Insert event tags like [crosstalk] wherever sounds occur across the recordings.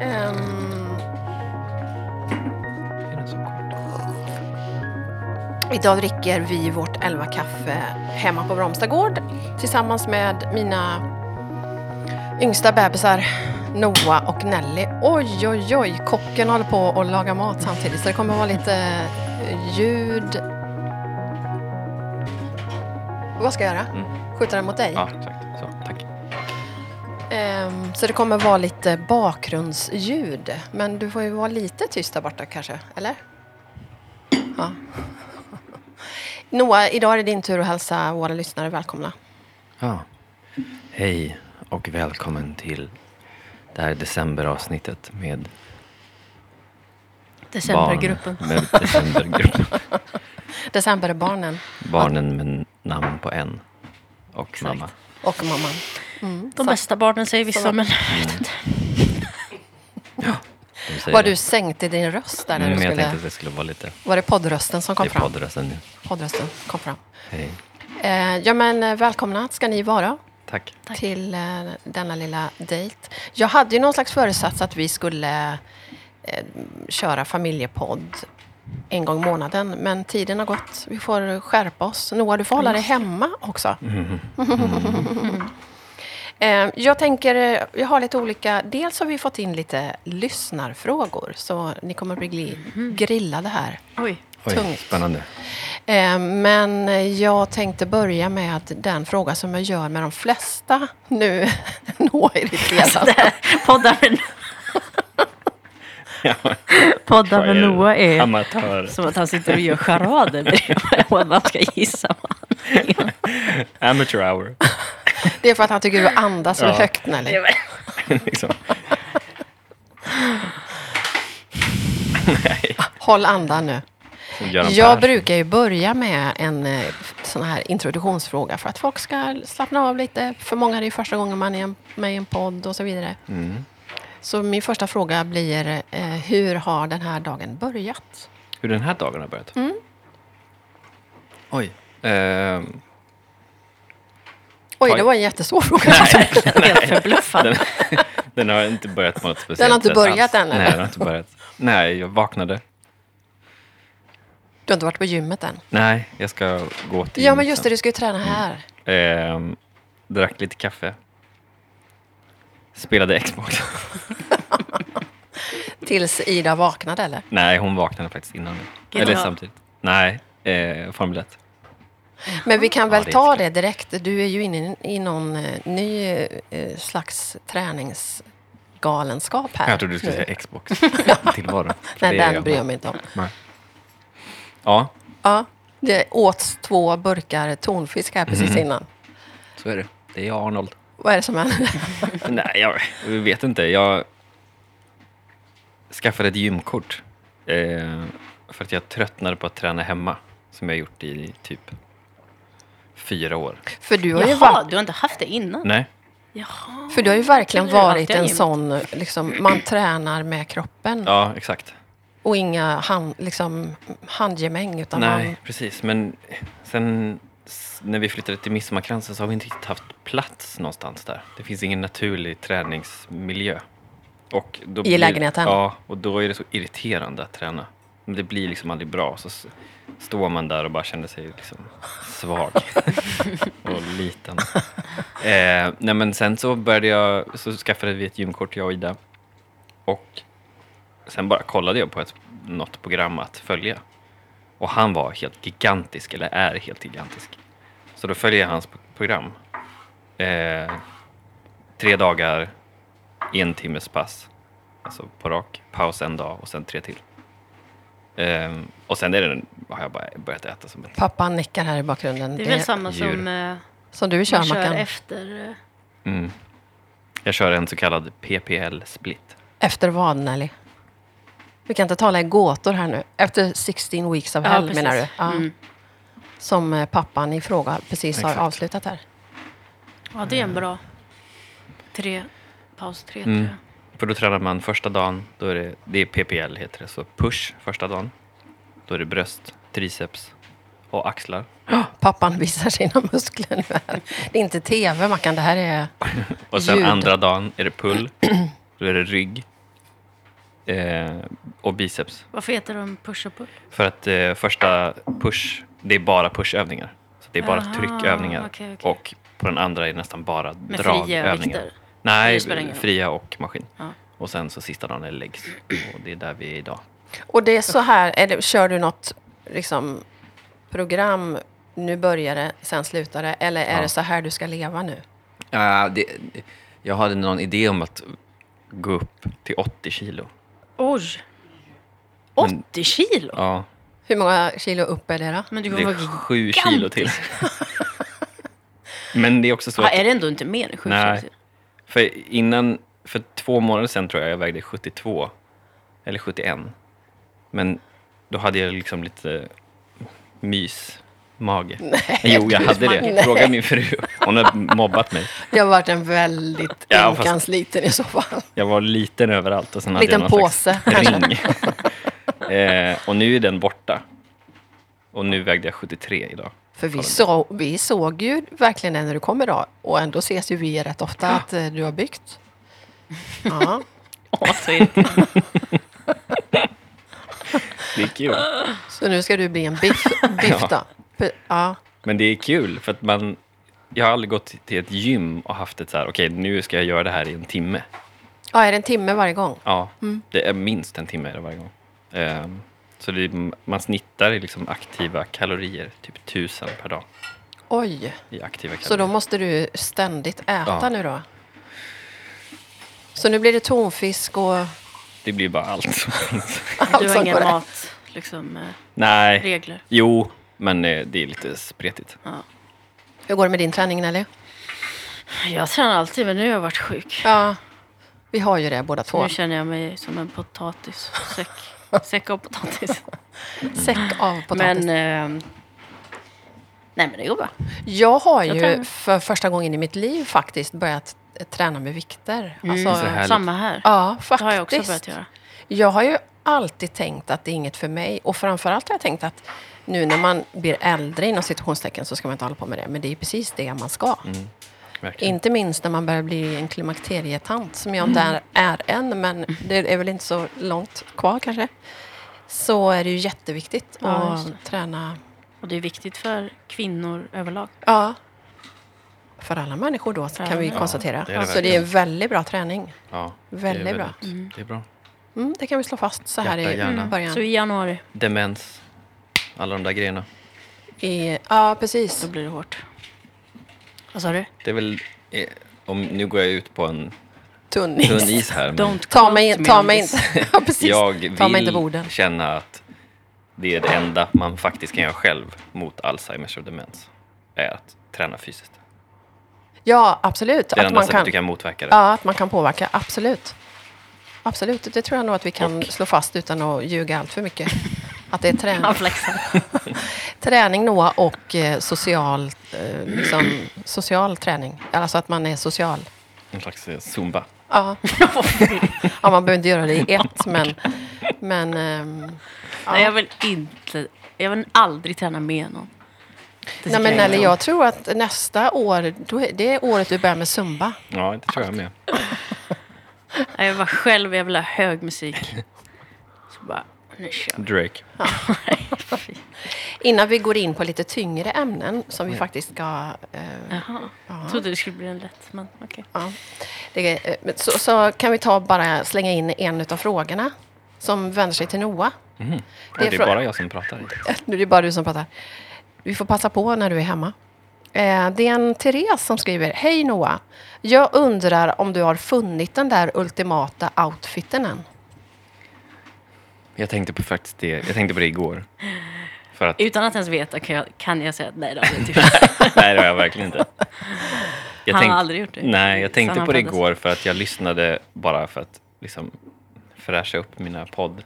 Ehm, Idag dricker vi vårt 11 kaffe hemma på Bromstagård tillsammans med mina yngsta bebisar Noah och Nelly. Oj, oj, oj, kocken håller på att laga mat samtidigt så det kommer vara lite eh, ljud. Vad ska jag göra? Mm. Skjuta den mot dig? Ja, exakt. Så, tack. Ehm, så det kommer vara lite bakgrundsljud. Men du får ju vara lite tyst där borta kanske, eller? Ja. Noah, idag är det din tur att hälsa våra lyssnare välkomna. Ja. Hej och välkommen till det här decemberavsnittet med Decembergruppen. barn, med decembergruppen. December är barnen Barnen med namn på en och mamma. och mamman. Mm. De bästa barnen säger Så- vissa, men De säger Var det. du sänkt i din röst där när Mm, du men jag skulle... tänkte att det skulle vara lite Var det poddrösten som kom i fram? poddrösten nu. Poddrösten kom fram. Hej. Eh, ja, men eh, välkomna ska ni vara. Tack. till eh, denna lilla dejt. Jag hade ju någon slags föresats att vi skulle eh, köra familjepodd en gång i månaden, men tiden har gått. Vi får skärpa oss. Noah, du får hålla dig hemma också. [laughs] Eh, Jag tänker, eh, jag har lite olika, dels har vi fått in lite lyssnarfrågor, så ni kommer bli gli- grillade här. [laughs] oj. Oj, Tungt. spännande. Eh, Men jag tänkte börja med den fråga som jag gör med de flesta nu. [laughs] Nå är irriterad. [laughs] Poddar med, poddar med Noah är Amatör. som att han sitter och gör charader bredvid och man ska gissa. [laughs] vad han är. Amateur hour. [laughs] Det är för att han tycker du andas så Ja. högt Nelly. liksom. Håll andan nu. Som Göran Jag Persson. brukar ju börja med en eh, sån här introduktionsfråga för att folk ska slappna av lite. För många är det ju första gången man är en- med i en podd och så vidare. Mm. Så min första fråga blir, eh, hur har den här dagen börjat? Hur den här dagen har börjat? Mm. Oj. [laughs] Ehm, Oj, Oj. det var en jättesvår [laughs] fråga. Helt förbluffad. Den har inte börjat på något speciellt Den har inte sätt börjat alls. än, eller? Nej, den har inte börjat. Nej, jag vaknade. Du har inte varit på gymmet än. Nej, jag ska gå till Ja, men just det, du ska ju träna här. Ehm, drack lite kaffe. Spelade Xbox. [laughs] Tills Ida vaknade, eller? Nej, hon vaknade faktiskt innan mig. GTA. Eller samtidigt. Nej, eh, Formel 1. Men vi kan Ja, väl det är ta jättekul. det direkt. Du är ju inne i någon eh, ny eh, slags träningsgalenskap här. Jag trodde du skulle nu. säga Xbox. [laughs] Tillvaron. För Nej, det är den bryr jag mig inte om. Nej. Ja, Ja, det åts två burkar tonfisk här precis Mhm. innan. så är det. Det är jag, Arnold. Vad är det som händer? [laughs] Nej, jag vet inte. Jag skaffade ett gymkort eh, för att jag tröttnade på att träna hemma som jag gjort i typ fyra år. För du har ju, Jaha, varit, du har inte haft det innan? Nej, Jaha. för du har ju verkligen Jag trodde det varit alltid en har sån, liksom, man tränar med kroppen ja exakt. och inga hand, liksom, handgemäng. Utan Nej, Man, precis. Men sen s- när vi flyttade till Midsommarkransen så har vi inte riktigt haft plats någonstans där. Det finns ingen naturlig träningsmiljö. Och då I lägenheten? Ja, och då är det så irriterande att träna. Men det blir liksom aldrig bra. Så s- står man där och bara känner sig liksom svag och liten. Eh, nej, men sen så började jag, så skaffade vi ett gymkort, jag och Ida. Och sen bara kollade jag på ett, något program att följa. Och han var helt gigantisk, eller är helt gigantisk. Så då följer jag hans p- program. Eh, tre dagar, en timmes pass. Alltså på rak, paus en dag och sen tre till. Eh, och sen är det, har jag bara börjat äta som ett... pappa nickar här i bakgrunden. Det Det är väl samma djur. som eh, som du kör, man kör Mackan. efter... eh, Mm. Jag kör en så kallad PPL-split. Efter vad, Nelly? Vi kan inte tala i gåtor här nu. Efter 16 weeks of Ja, hell, precis. menar du? Ja. Mm. Som eh, pappan i fråga precis har Exakt. avslutat här. Ja, det är en bra... Tre... Paus tre, Mm. tror jag. För då tränar man första dagen, då är det, det är PPL heter det, så push första dagen. Då är det bröst, triceps och axlar. Pappan visar sina muskler nu här. Det är inte tv, Mackan. Det här är... Och sen Ljud. [clears throat] andra dagen är det pull, då är det rygg, eh, och biceps. Varför heter de push och pull? För att eh, första push, det är bara pushövningar. Så det är bara Aha, tryckövningar. okej, okej. Och på den andra är det nästan bara Med fria dragövningar. vikter? Nej, Det spelar ingen roll. fria och maskin. Ja. Och sen så sista dagen är legs. Och det är där vi är idag. Och det är så här, är det, kör du något liksom, program, nu börjar det, sen slutar det, eller är Ja. det så här du ska leva nu? Ja, det, jag hade någon idé om att gå upp till 80 kilo. Oj! Men- 80 kilo? Ja, Hur många kilo upp är det då? Men du det kommer är vara sju kilo till. [laughs] Men det är också så Ja, att... är det ändå inte mer Typ? än 7 Nej. kilo? För innan, för två månader sedan tror jag jag vägde 72. Eller 71. Men då hade jag liksom lite mysmage. [laughs] Nej, Jo, jag hade det. mysmage. Fråga min fru. Hon har mobbat mig. Det har varit en väldigt Ja, fast- ynkansliten i så fall. Jag var liten överallt och sen hade Liten jag någon påse, slags [laughs] ring. eh, och nu är den borta. Och nu vägde jag 73 idag. För vi, så, vi såg ju verkligen det när du kom idag och ändå ses ju vi rätt ofta att eh, du har byggt. Ja. Åh, så irriterande. Det är kul. Så nu ska du bli en [laughs] biff, biff Ja. då? P- Ja. Men det är kul för att man... Jag har aldrig gått till ett gym och haft ett så här, okej nu ska jag göra det här i en timme. ja, är det en timme varje gång? Ja, Mm. det är minst en timme är det varje gång. Ehm, så det, är- man snittar i liksom aktiva kalorier, typ tusen per dag. Oj, I aktiva kalorier. så då måste du ständigt äta Ja. nu då? Så nu blir det tonfisk och Det blir bara allt [laughs] som finns. allt Du sånt har på inga det. mat, liksom, eh, Nej, regler. jo, men eh, det är lite spretigt. Ja. Hur går det med din träning Nelly? Jag tränar alltid, men nu har jag varit sjuk. Ja, vi har ju det båda två. Nu känner jag mig som [laughs] en potatissäck. Säck av potatis. Säck av potatis. Men... ehm, nej, men det går bra. Jag har Jag ju tränar. för första gången i mitt liv faktiskt börjat träna med vikter. Så Alltså, härligt. Samma här. ja, faktiskt. Det har jag också börjat göra. Jag har ju alltid tänkt att det är inget för mig. Och framförallt har jag tänkt att nu när man blir äldre inom situationstecken så ska man inte hålla på med det. Men det är precis det man ska. Mm, Verkligen. Inte minst när man börjar bli en klimakterietant, som jag inte Mm. är, är än, men det är väl inte så långt kvar kanske. Så är det ju jätteviktigt Ja, just att träna Och det är viktigt för kvinnor överlag. Ja. För alla människor då, För kan vi alla. ju Ja, konstatera. det är det så det är verkligen. en väldigt bra träning. Ja, det är Väldigt bra. Det är bra. Mm, det kan vi slå fast så här Hjärta, i hjärna. början. Så i januari, Demens, alla de där grejerna. I, ja, precis. då blir det hårt. Vad sa du? Det är väl... Eh, om, nu går jag ut på en Tunn tunn is. [laughs] is här. men- Don't Ta mig, in- quote ta me mig on inte... this. [laughs] Ja, precis. Jag ta mig inte på vill orden. känna att det är det enda man faktiskt kan göra själv mot Alzheimers och demens. Är att träna fysiskt. Ja, absolut. Det är det Att enda man, sättet kan, du kan motverka det. ja, att man kan påverka, absolut. Absolut, det tror jag nog att vi kan slå fast utan att ljuga allt för mycket. Att det är träning, Han flexar. [laughs] träning Noah, och eh, social, eh, liksom, social träning. Alltså att man är social. En slags eh, zumba. Ja. ja, man behöver inte göra det i ett, men... men ehm, ja. Nej, jag vill inte... Jag vill aldrig träna med någon. Det Nej, tycker men inte Nelly, om. jag tror att nästa år, då är, det är året du börjar med Zumba. Ja, det tror jag med. Nej, Jag var själv, jag vill ha hög musik. Så bara, nu kör vi. Drake. Innan vi går in på lite tyngre ämnen som vi faktiskt ska... Eh, Jaha. Jag trodde det skulle bli en lätt, men okej. ja. det, är- eh, men så, så kan vi ta bara slänga in en av frågorna som vänder sig till Noah. [laughs] Och det är från- bara jag som pratar. Nu är det bara du som pratar. Vi får passa på när du är hemma. Eh, Det är en Therese som skriver. Hej Noah. Jag undrar om du har funnit den där ultimata outfiten än? Jag tänkte på faktiskt det. Jag tänkte på det igår. [laughs] För att, Utan att ens veta kan jag, kan jag säga att nej, det har jag inte gjort. nej, det har jag verkligen inte. Jag Han har tänk- aldrig gjort det. Nej, jag Sen tänkte han på det föddes. igår för att jag lyssnade bara för att liksom fräscha upp mina podd.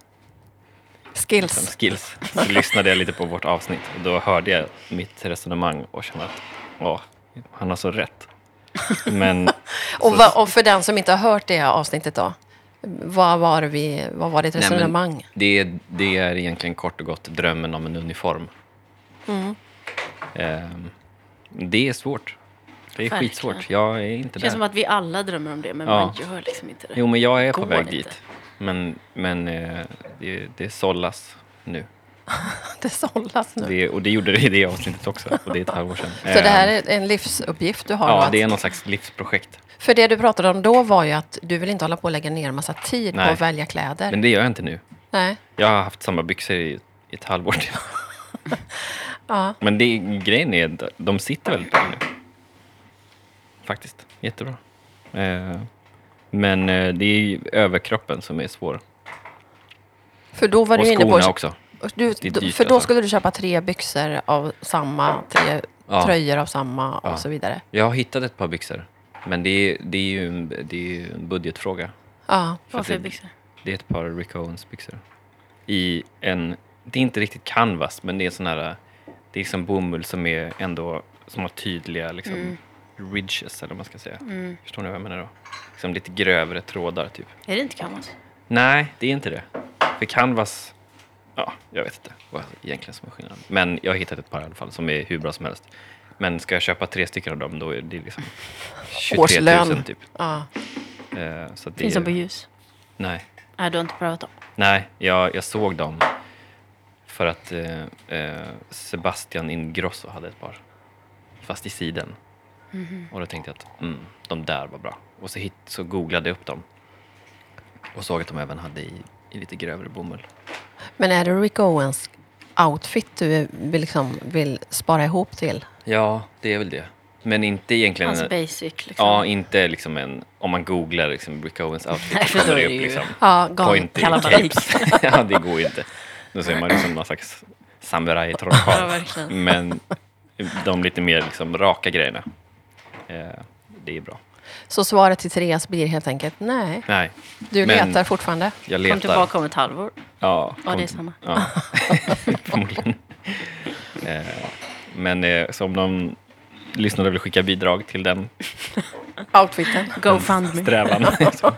som Skills. skills. Så lyssnade jag lite på vårt avsnitt och då hörde jag mitt resonemang och kände att åh, han har så rätt. Men [laughs] Och, va, och för den som inte har hört det avsnittet då. Vad var, vi, vad var ditt Nej, men resonemang? [laughs] det, är- det är egentligen kort och gott drömmen om en uniform. Mm. Ehm, det är svårt. Det är Verkligen. skitsvårt. Jag är inte Det känns som där. att vi alla drömmer om det, men Ja. man gör liksom inte det. Jo, men jag är på går väg inte. dit. Men, men eh, det, det sållas nu. Det sållas nu. Det, och det gjorde det i det avsnittet också. Och det är ett halvår sedan. Så det här är en livsuppgift du har? då Eh. Ja, att, det är någon slags livsprojekt. För det du pratade om då var ju att du vill inte hålla på och lägga ner en massa tid på Nej. att välja kläder. Men det gör jag inte nu. Nej. Jag har haft samma byxor i, i ett halvår till. Ja. Men det, grejen är att de sitter väldigt bra nu. Faktiskt. Jättebra. Eh, men eh, det är ju överkroppen som är svår. För då var och du inne på... skorna också. Och Du, Det är dyrt, för då alltså. skulle du köpa tre byxor av samma, tre Ja. tröjor av samma och Ja. så vidare. Jag har hittat ett par byxor. Men det är, det är ju en, det är ju en budgetfråga. Ja. För Vad att för det, byxor? det är ett par Rick Owens byxor. I en, det är inte riktigt canvas, men det är sån här, det är liksom bomull som är ändå, som har tydliga liksom ridges eller vad man ska säga. Mm. Förstår ni vad jag menar då? Liksom lite grövre trådar typ. Är det inte gammalt? Nej, det är inte det. För canvas, ja, jag vet inte vad egentligen som är skillnaden. Men jag har hittat ett par i alla fall som är hur bra som helst. Men ska jag köpa tre stycken av dem då är det [laughs] liksom 23 000 Årslön. typ. ja. Eh, Så att det Finns de på är, ljus? nej, Nej, du har inte prövat dem. nej jag, jag såg dem för att eh, eh, Sebastian Ingrosso hade ett par. Fast i siden. Mhm. Och då tänkte jag att mm, de där var bra. Och så, hit, så googlade jag upp dem. Och såg att de även hade i, i lite grövre bomull. Men är det Rick Owens outfit du vill, liksom, vill spara ihop till? Ja, det är väl det. Men inte egentligen... Hans basic liksom. ja, inte liksom en... Om man googlar liksom Rick Owens outfit [laughs] Nej, så för då kommer det är upp det ju- liksom Ja, gone. pointy kalabalik. capes. [laughs] ja, det går ju inte. Då ser man liksom någon slags [laughs] samurai Ja, trollkarl. verkligen. Men de lite mer liksom raka grejerna. Eh, det är bra. Så svaret till Therese blir helt enkelt nej. Nej, Du Men- letar fortfarande. jag Kom letar. tillbaka om ett halvår. Ja, Ja, det är kom- samma. Ja, [laughs] förmodligen. Eh, men eh, så om någon lyssnare vill skicka bidrag till den Outfiten. Mm. GoFundMe. [laughs] strävan. [laughs] så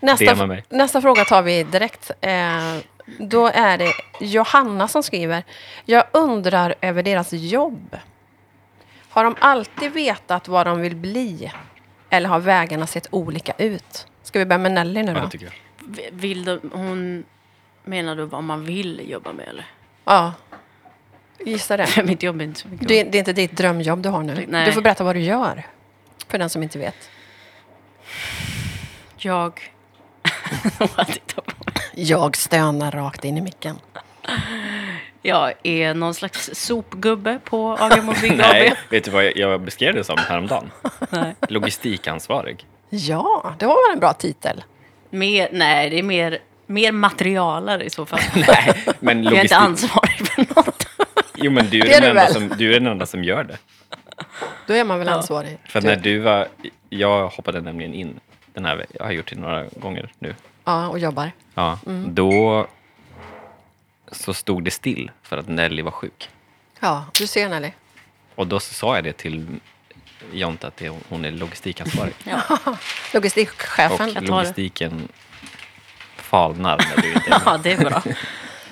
Nästa, DMa mig. nästa fråga tar vi direkt. Eh, då är det Johanna som skriver. Jag undrar över deras jobb. Har de alltid vetat vad de vill bli? Eller har vägarna sett olika ut? Ska vi börja med Nelly nu ja, typ. då? det tycker jag. V- Vill de, hon menar du vad man vill jobba med eller? [laughs] Ja. Gissa det. Mitt jobb är inte så mycket. Det, det är inte ditt drömjobb du har nu. Nej. Du får berätta vad du gör. För den som inte vet. Jag... [laughs] Vad tittar på. Jag stönar rakt in i micken. jag är någon slags sopgubbe på Agamo [laughs] Big Nej, AB. vet du vad jag, jag beskrev det som häromdagen? [laughs] Nej. [laughs] Logistikansvarig. Ja, det var väl en bra titel. Mer, nej, det är mer, mer materialare i [laughs] så fall. Nej, men Jag är logistik... inte ansvarig för något. Jo, men du är, Det är du den, enda väl? som, du är den enda som gör det. Då är man väl Ja. ansvarig. För att när du var... Jag hoppade nämligen in den här veckan. Jag har gjort det några gånger nu. Ja, och jobbar. Ja, Mm. Då så stod det still för att Nelly var sjuk. Ja, du ser Nelly. Och då så sa jag det till Jonte att det, hon är logistikansvarig. Logistikchefen. Och tar det. logistiken falnar när du inte är med. Ja, det är bra.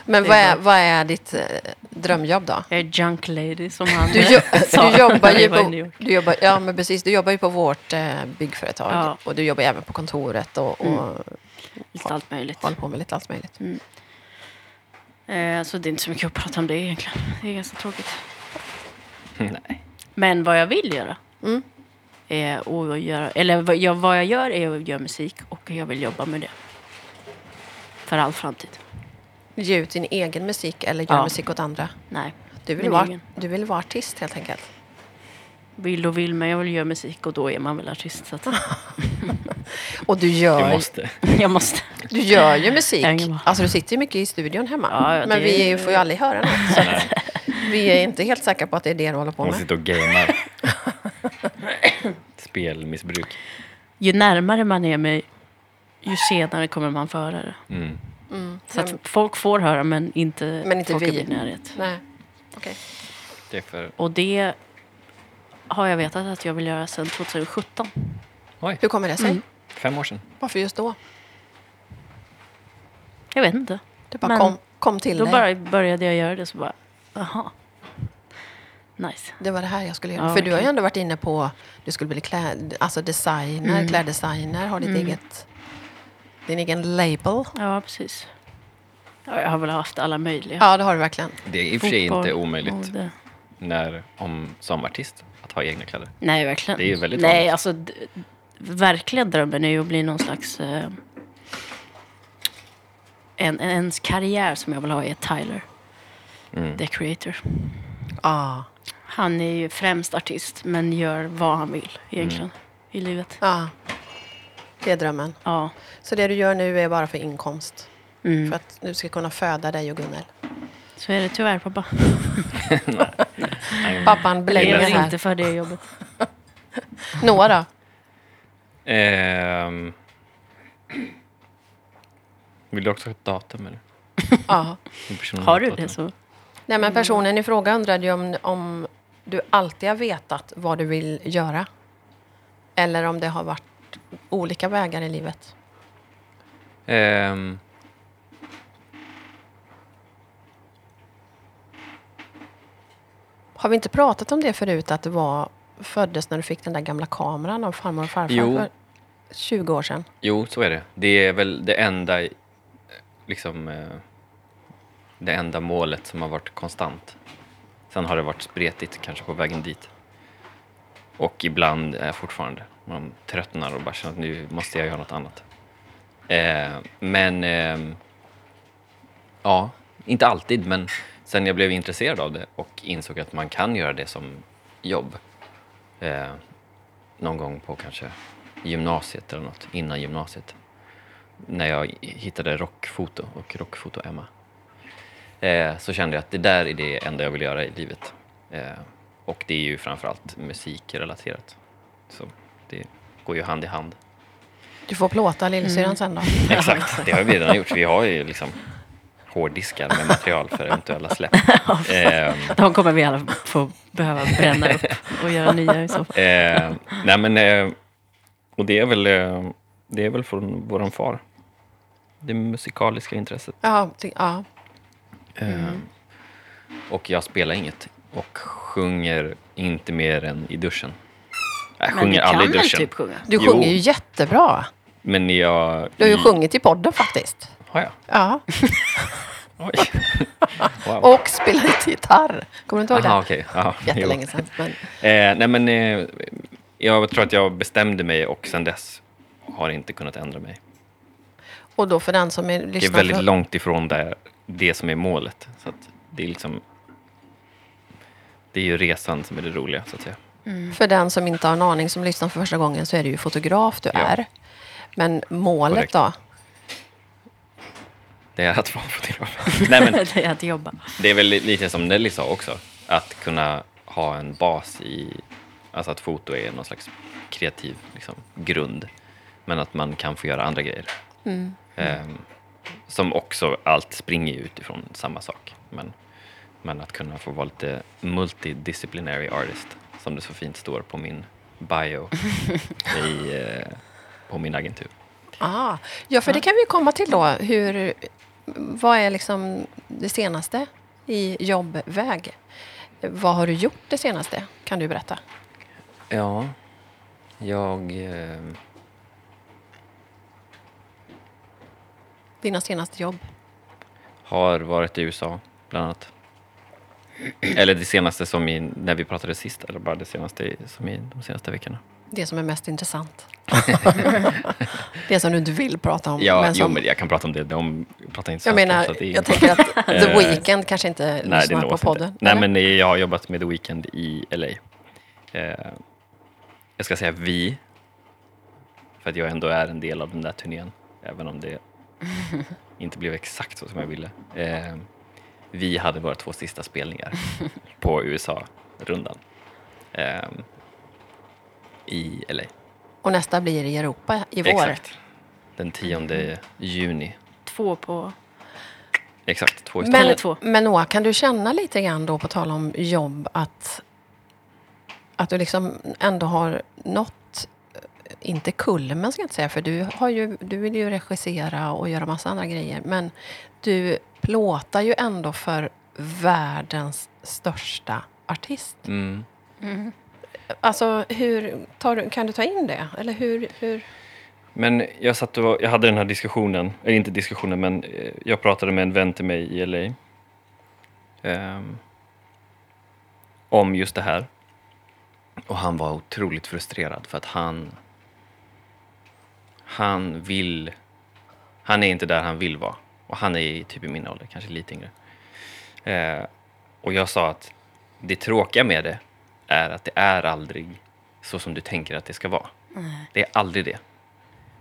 Men Det är vad är, vad är ditt eh, drömjobb [laughs] då? Jag är junk lady som han eh, Du, jo, sa du jobbar när vi ju var i på, New York. du jobbar, ja, men precis, du jobbar ju på vårt eh, byggföretag Ja. Mm. och du jobbar även på kontoret och, och Lite allt möjligt. håller på med lite allt möjligt. Mm. Eh, så det är inte så mycket att prata om det egentligen. Det är ganska tråkigt. [laughs] Nej. Men vad jag vill göra. Mm. Är att göra eller vad jag, vad jag gör är att göra musik och jag vill jobba med det. För all framtid. Ge ut din egen musik eller gör Ja. musik åt andra. Nej. Du vill, Min vara, egen. du vill vara artist helt enkelt. Vill och vill, men jag vill göra musik och då är man väl artist. Så att [laughs] Och du Du gör, måste. jag måste. du gör ju musik. Jag har ingen val. Alltså du sitter ju mycket i studion hemma. Ja, ja, men det- vi är ju, får ju aldrig höra [laughs] något. Så att vi är inte helt säkra på att det är det du håller på Hon med. sitter och gamear. [laughs] Spelmissbruk. Ju närmare man är mig, ju senare kommer man få höra det. Mm. Så att folk får höra, men inte, Men inte folk vi. i min närhet. Nej. Okej. Det är för... Och det har jag vetat att jag vill göra sedan 2017. Oj, Hur kommer det Mm. sig? fem år sedan. Varför just då? Jag vet inte. Det bara Men- kom, kom till Då dig. bara började jag göra det så bara, aha. Nice. Det var det här jag skulle göra. Ja, För du har ju verkligen. ändå varit inne Mm. på, du skulle bli kläd, alltså designer, kläddesigner, har ditt eget Din egen label. Ja, precis. Ja, jag har väl haft alla möjliga. Ja, det har du verkligen. Det är i och för sig inte omöjligt mode. när, om, som artist att ha egna kläder. Nej, verkligen. Det är ju väldigt Nej, vanligt. alltså d- verkliga drömmen är ju att bli någon slags... Eh, en, en, ens karriär som jag vill ha är Tyler, Mm. the creator. Ja. Han är ju främst artist, men gör vad han vill Mm. egentligen i livet. ja. Det är drömmen. Ja. Så det du gör nu är bara för inkomst? Mm. För att du ska kunna föda dig och Gunnel? Så är det tyvärr, pappa. Pappan Jag belägger lever här. inte för det jobbet. Noah [laughs] då? Ehm. Vill du också ha ett datum eller? Ja. En person Har du ett datum? det så? Nej, men personen i fråga undrade ju om, om du alltid har vetat vad du vill göra. Eller om det har varit olika vägar i livet. Ehm. Har vi inte pratat om det förut, att det var, föddes när du fick den där gamla kameran av farmor och farfar Jo. för 20 år sedan? Jo, så är det. Det är väl det enda, eh, liksom, eh, det enda målet som har varit konstant. Sen har det varit spretigt kanske på vägen dit. Och ibland eh, fortfarande. Man tröttnar och bara känner att nu måste jag göra något annat. Eh, men, ehm, ja, inte alltid, men sen jag blev intresserad av det och insåg att man kan göra det som jobb. Eh, någon gång på kanske gymnasiet eller något, innan gymnasiet. När jag hittade rockfoto och rockfoto-Emma. Eh, så kände jag att det där är det enda jag vill göra i livet. Eh, och det är ju framförallt musikrelaterat. Så det går ju hand i hand. Du får plåta lillsyrran sen då. Exakt, det har vi redan gjort. Vi har ju liksom hårddiskar med material för eventuella släpp. Ehm, De kommer vi alla få behöva bränna upp och göra nya i så fall. Eh, nej men, eh, och det är väl, eh, det är väl från våran far. Det musikaliska intresset. Ja, det, ja. Eh, och jag spelar inget. Och sjunger inte mer än i duschen. Jag Men du sjunger kan aldrig i väl duschen. typ sjunga? Du Jo. Mm. sjunger ju jättebra. Men jag... Du har ju sjungit i podden faktiskt. Har jag? Ja. Oj. wow. Och spelat gitarr. Kommer du inte ihåg Aha, det? okej. Ja, jo. Jättelänge sedan. Men, Eh, nej men, eh, jag tror att jag bestämde mig och sen dess har inte kunnat ändra mig. och då för den som är Det är lyssnar väldigt för- långt ifrån det, det som är målet. Så att det är liksom... Det är ju resan som är det roliga, så att säga. För den som inte har en aning som lyssnar för första gången så är det ju fotograf du är. Men målet Korrekt. då? Det är att vara fotograf. [laughs] Nej, men [laughs] Det är att jobba. det är väl lite som Nelly sa också. Att kunna ha en bas i... Alltså att foto är någon slags kreativ liksom, grund. Men att man kan få göra andra grejer. Ehm, som också, allt springer ju utifrån samma sak. Men, men att kunna få vara lite multidisciplinary artist, som det så fint står på min bio i, eh, på min agentur. Ah, ja, för det kan vi ju komma till då. Hur, vad är liksom det senaste i jobbväg? Vad har du gjort det senaste? Kan du berätta? Ja, jag... Eh, Dina senaste jobb? har varit i USA, bland annat. Eller det senaste som i, när vi pratade sist, eller bara det senaste i- som i de senaste veckorna. Det som är mest [laughs] intressant? det som du inte vill prata om? Ja, men som, jo, men jag kan prata om det. De pratar inte jag svenska, menar, så att det är jag inte- tänker att [laughs] The Eh, Weeknd kanske inte Nej, det lyssnar på nås podden. Inte. Nej, eller? men eh, jag har jobbat med The Weeknd i LA. Eh, jag ska säga vi, för att jag ändå är en del av den där turnén, även [laughs] om det inte blev exakt så som jag ville. Eh, vi hade våra två [laughs] sista spelningar på USA-rundan eh, i LA. Och nästa blir i Europa i vår. Exakt. Den 10 juni. Två på... Exakt, två i Men, Stockholm. två. men Noah, kan du känna lite grann då, på tal om jobb, att, att du liksom ändå har nått, eh, inte kulmen ska jag inte säga, för du, har ju, du vill ju regissera och göra massa andra grejer, men du plåtar ju ändå för världens största artist. Mm. Alltså, hur tar du, kan du ta in det? Eller hur, hur? Men jag satt och, jag hade den här diskussionen, eller inte diskussionen, men eh, jag pratade med en vän till mig i LA. ehm, om just det här. Och han var otroligt frustrerad för att han... Han vill... Han är inte där han vill vara. Och han är typ i min ålder, kanske lite yngre. Eh, och jag sa att det tråkiga med det är att det är aldrig så som du tänker att det ska vara. Det är aldrig det.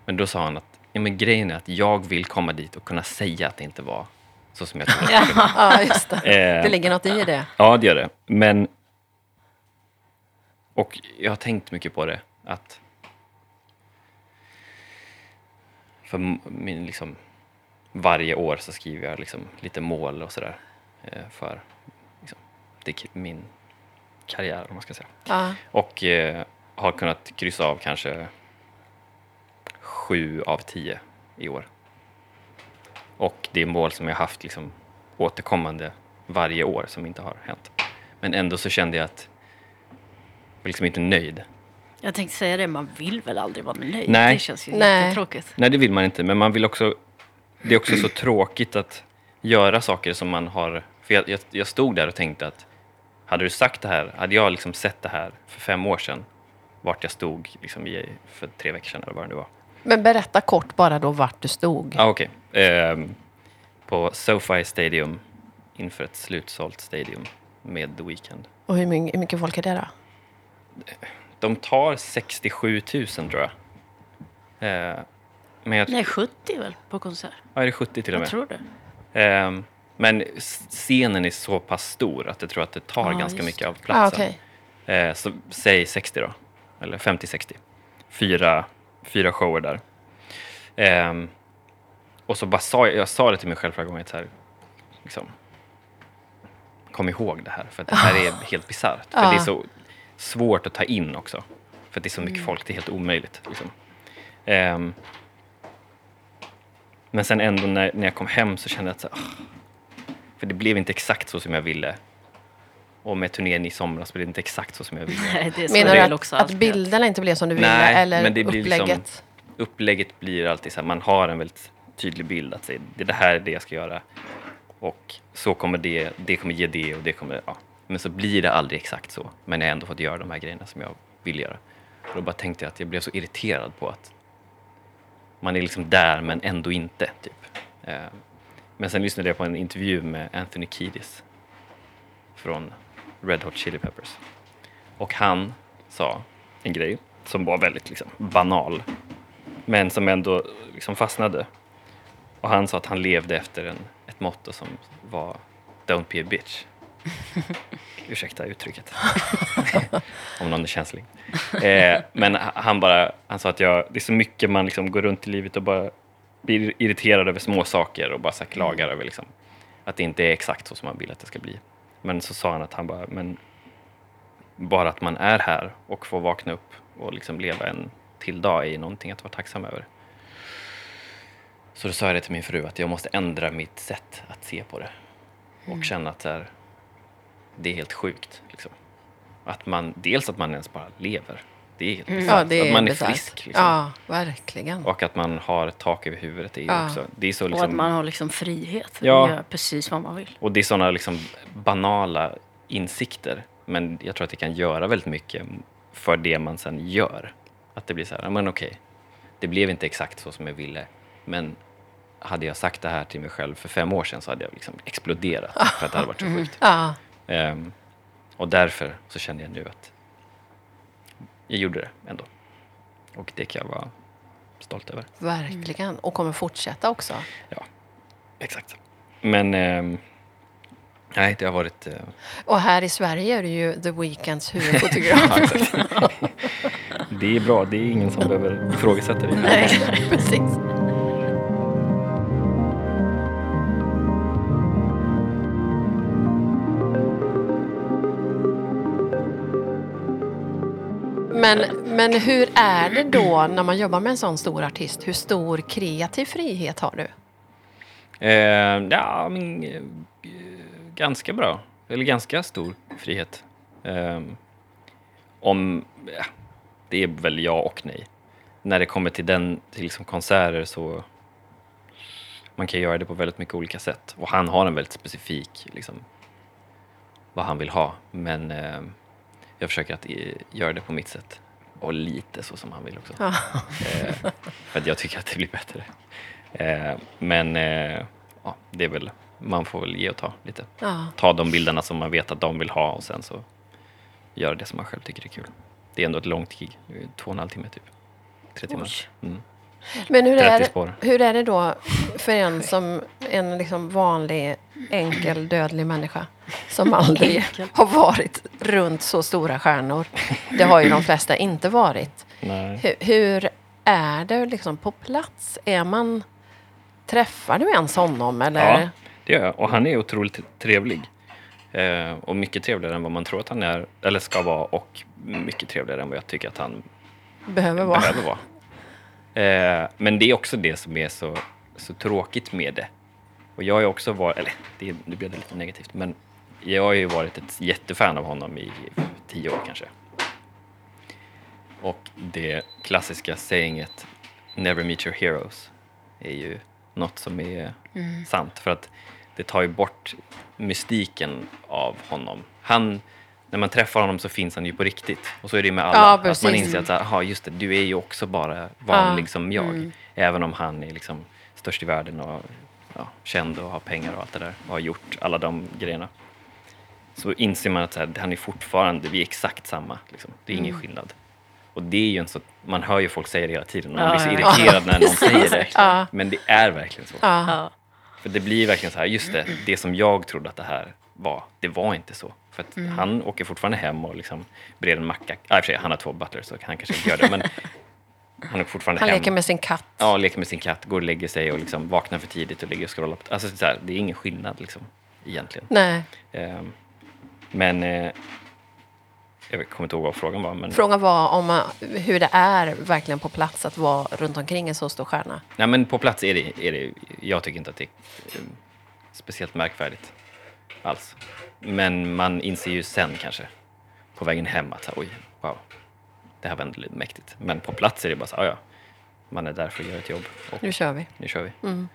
Men då sa han att ja, men grejen är att jag vill komma dit och kunna säga att det inte var så som [laughs] jag tänkte. Ja, just det. Eh, Det ligger något i det. Ja, det gör det. Men... Och jag har tänkt mycket på det. Att... För m- min, liksom, varje år så skriver jag liksom, lite mål och sådär. eh, För liksom, det, är ki- min karriär, om man ska säga. Ja. Och eh, har kunnat kryssa av kanske sju av tio i år. Och det är mål som jag haft liksom återkommande varje år som inte har hänt. Men ändå så kände jag att jag var liksom inte nöjd. Jag tänkte säga det, man vill väl aldrig vara nöjd? Nej. Det känns ju Nej. jättetråkigt. Nej, det vill man inte, men man vill också... Det är också så tråkigt att göra saker som man har... För jag, jag, jag stod där och tänkte att hade du sagt det här, hade jag liksom sett det här för fem år sedan, vart jag stod liksom i, för tre veckor sedan eller vad det nu var. Men berätta kort bara då vart du stod. Ja, ah, okej. Ehm, på SoFi Stadium inför ett slutsålt stadium med The Weeknd. Och hur mycket, hur mycket folk är det då? De tar 67 000 tror jag. Eh, men jag, Nej, 70 väl på konsert? ja, är det 70 till och Jag med? tror det. Ehm, men s- scenen är så pass stor att jag tror att det tar Ja, ganska just mycket av Ah, platsen. Eh, så säg 60 då, eller 50-60. Fyra, fyra shower där. Ehm, och så bara sa jag, jag sa det till mig själv förra gången, att så här, liksom, kom ihåg det här, för att det här [laughs] är helt bisarrt. För Ja. det är så svårt att ta in också, för att det är så mycket Mm. folk, det är helt omöjligt. Liksom. Ehm, men sen ändå när, när jag kom hem så kände jag att så här, "Ah." för det blev inte exakt så som jag ville. Och med turnén i somras blev det inte exakt så som jag ville. Nej, det är så Menar det du är att, också att alltid. bilderna inte blev som du ville Nej, eller men det blir liksom- upplägget? upplägget blir alltid så här, man har en väldigt tydlig bild att säga, det det här är det jag ska göra och så kommer det, det kommer ge det och det kommer, ja. Men så blir det aldrig exakt så, men jag har ändå fått göra de här grejerna som jag vill göra. Och då bara tänkte jag att jag blev så irriterad på att man är liksom där men ändå inte, typ. Eh, Men sen lyssnade jag på en intervju med Anthony Kiedis från Red Hot Chili Peppers. Och han sa en grej som var väldigt liksom, banal men som ändå liksom fastnade. Och han sa att han levde efter en, ett motto som var Don't be a bitch. Ursäkta uttrycket. [laughs] Om någon är känslig. Eh, men h- han, bara, han sa att jag, det är så mycket man liksom går runt i livet och bara blir irriterad över små saker och bara Mm. så här klagar över liksom, att det inte är exakt så som man vill att det ska bli. Men så sa han att han bara, men bara att man är här och får vakna upp och liksom leva en till dag är ju någonting att vara tacksam över. Så då sa jag det till min fru att jag måste ändra mitt sätt att se på det och Mm. känna att så här, det är helt sjukt. Liksom. Att man, dels att man ens bara lever. Det är helt Mm. Ja, bisarrt. det är Att man är bisarrt. frisk. Liksom. Ja, verkligen. Och att man har tak över huvudet. Det är, ju Ja. också, det är så Och att liksom man har liksom frihet Ja. att göra precis vad man vill. Och det är sådana liksom banala insikter. Men jag tror att det kan göra väldigt mycket för det man sen gör. Att det blir så här, "Ja, men okej, det blev inte exakt så som jag ville. Men hade jag sagt det här till mig själv för fem år sedan så hade jag liksom exploderat för att det hade [laughs] varit så Mm. sjukt. Ja, Ehm, och därför så känner jag nu att jag gjorde det ändå. Och det kan jag vara stolt över. verkligen. Och kommer fortsätta också. Ja, exakt. Men ehm, nej, det har varit eh, [laughs] Och här i Sverige är det ju The Weeknds huvudfotograf. Det är bra, det är ingen som behöver ifrågasätta det. Nej, [laughs] precis. Men, men hur är det då när man jobbar med en sån stor artist? Hur stor kreativ frihet har du? Eh, ja, men, eh, ganska bra. Eller ganska stor frihet. Ehm, Eh, om, ja, det är väl ja och nej. när det kommer till, den, till liksom konserter så man kan göra det på väldigt mycket olika sätt. Och han har en väldigt specifik, liksom, vad han vill ha. Men eh, jag försöker att eh, göra det på mitt sätt. Och lite så som han vill också. Ja. Eh, för att jag tycker att det blir bättre. Eh, men eh, ja, det är väl, man får väl ge och ta lite. Ja. Ta de bilderna som man vet att de vill ha och sen så göra det som man själv tycker är kul. Det är ändå ett långt gig, Det är två och en halv timme typ. Tre timmar. Mm. Men hur 30 är, spår. hur är det då för en som en liksom vanlig, enkel, dödlig människa som aldrig har varit runt så stora stjärnor? Det har ju de flesta inte varit. Nej. Hur, hur är det liksom på plats? Är man... Träffar du ens honom? Eller? Ja, det gör jag. Och han är otroligt trevlig. Eh, och mycket trevligare än vad man tror att han är, eller ska vara och mycket trevligare än vad jag tycker att han Behöver vara. behöver vara. Eh, men det är också det som är så, så tråkigt med det. Och jag har ju också varit, eller det, nu blev det lite negativt, men jag har ju varit ett jättefan av honom i tio år kanske. Och det klassiska sayinget “Never meet your heroes” är ju något som är Mm. sant. För att det tar ju bort mystiken av honom. Han, när man träffar honom så finns han ju på riktigt. Och så är det ju med alla. Ja, att man precis. inser att så här, "Aha, just det, du är ju också bara vanlig Ja. Mm. som jag. Även om han är liksom störst i världen och ja, känd och har pengar och allt det där. Och har gjort alla de grejerna. Så inser man att så här, han är fortfarande, vi är exakt samma. Liksom. Det är ingen Mm. skillnad. Och det är ju en så, man hör ju folk säga det hela tiden. och Man Ja, blir så ja, ja. [laughs] irriterad när någon säger det. Ja. Men det är verkligen så. Ja. Ja. För det blir verkligen så här, just det, det som jag trodde att det här var, det var inte så. För att Mm. han åker fortfarande hem och liksom bereder en macka. Ah, i och för sig, han har två butlers så han kanske inte gör det, [laughs] men han åker fortfarande Han hem. leker med sin katt. Ja, leker med sin katt, går och lägger sig och liksom vaknar för tidigt och ligger och scrollar. På alltså, så här, det är ingen skillnad liksom, egentligen. Nej. Ehm, men eh, jag kommer inte ihåg vad frågan var. Men, Frågan var om eh, hur det är verkligen på plats att vara runt omkring en så stor stjärna. nej, men på plats är det, är det, jag tycker inte att det är eh, speciellt märkvärdigt alls. Men man inser ju sen kanske, på vägen hem, att så här, oj, wow, det här var ändå lite mäktigt. Men på plats är det bara så här, "Ah, ja, man är där för att göra ett jobb och Nu kör vi. nu kör vi. Ehm,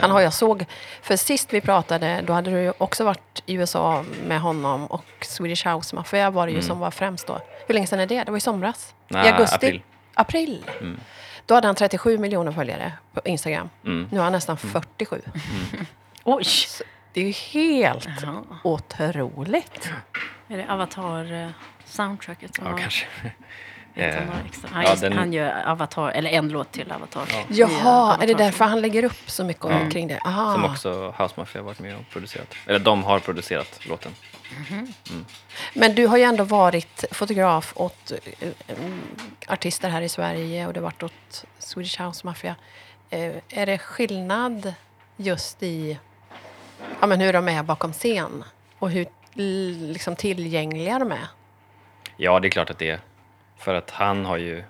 Han har jag såg, för sist vi pratade, då hade du ju också varit i USA med honom och Swedish House Mafia var det ju som var främst då. Hur länge sedan är det? Det var i somras? I Mm. Nej, augusti? April? april. Då hade han 37 miljoner följare på Instagram. Mm. Nu har han nästan 47. Oj! Så det är ju helt Ja. otroligt. Är det Avatar-soundtracket som Ja, har kanske. [laughs] inte Eh, några extra? Han, ja, just, den- han gör Avatar, eller en låt till Avatar. i, eh, Jaha, är det Avatar. därför han lägger upp så mycket Mm. omkring det? Aha. Som också House Mafia har varit med och producerat. Eller de har producerat låten. Men du har ju ändå varit fotograf åt eh, mm, artister här i Sverige och du har varit åt Swedish House Mafia. Eh, är det skillnad just i ja, men hur de är bakom scen och hur l- liksom, tillgängliga de är? [laughs] Ja, det är klart att det är. För att han har ju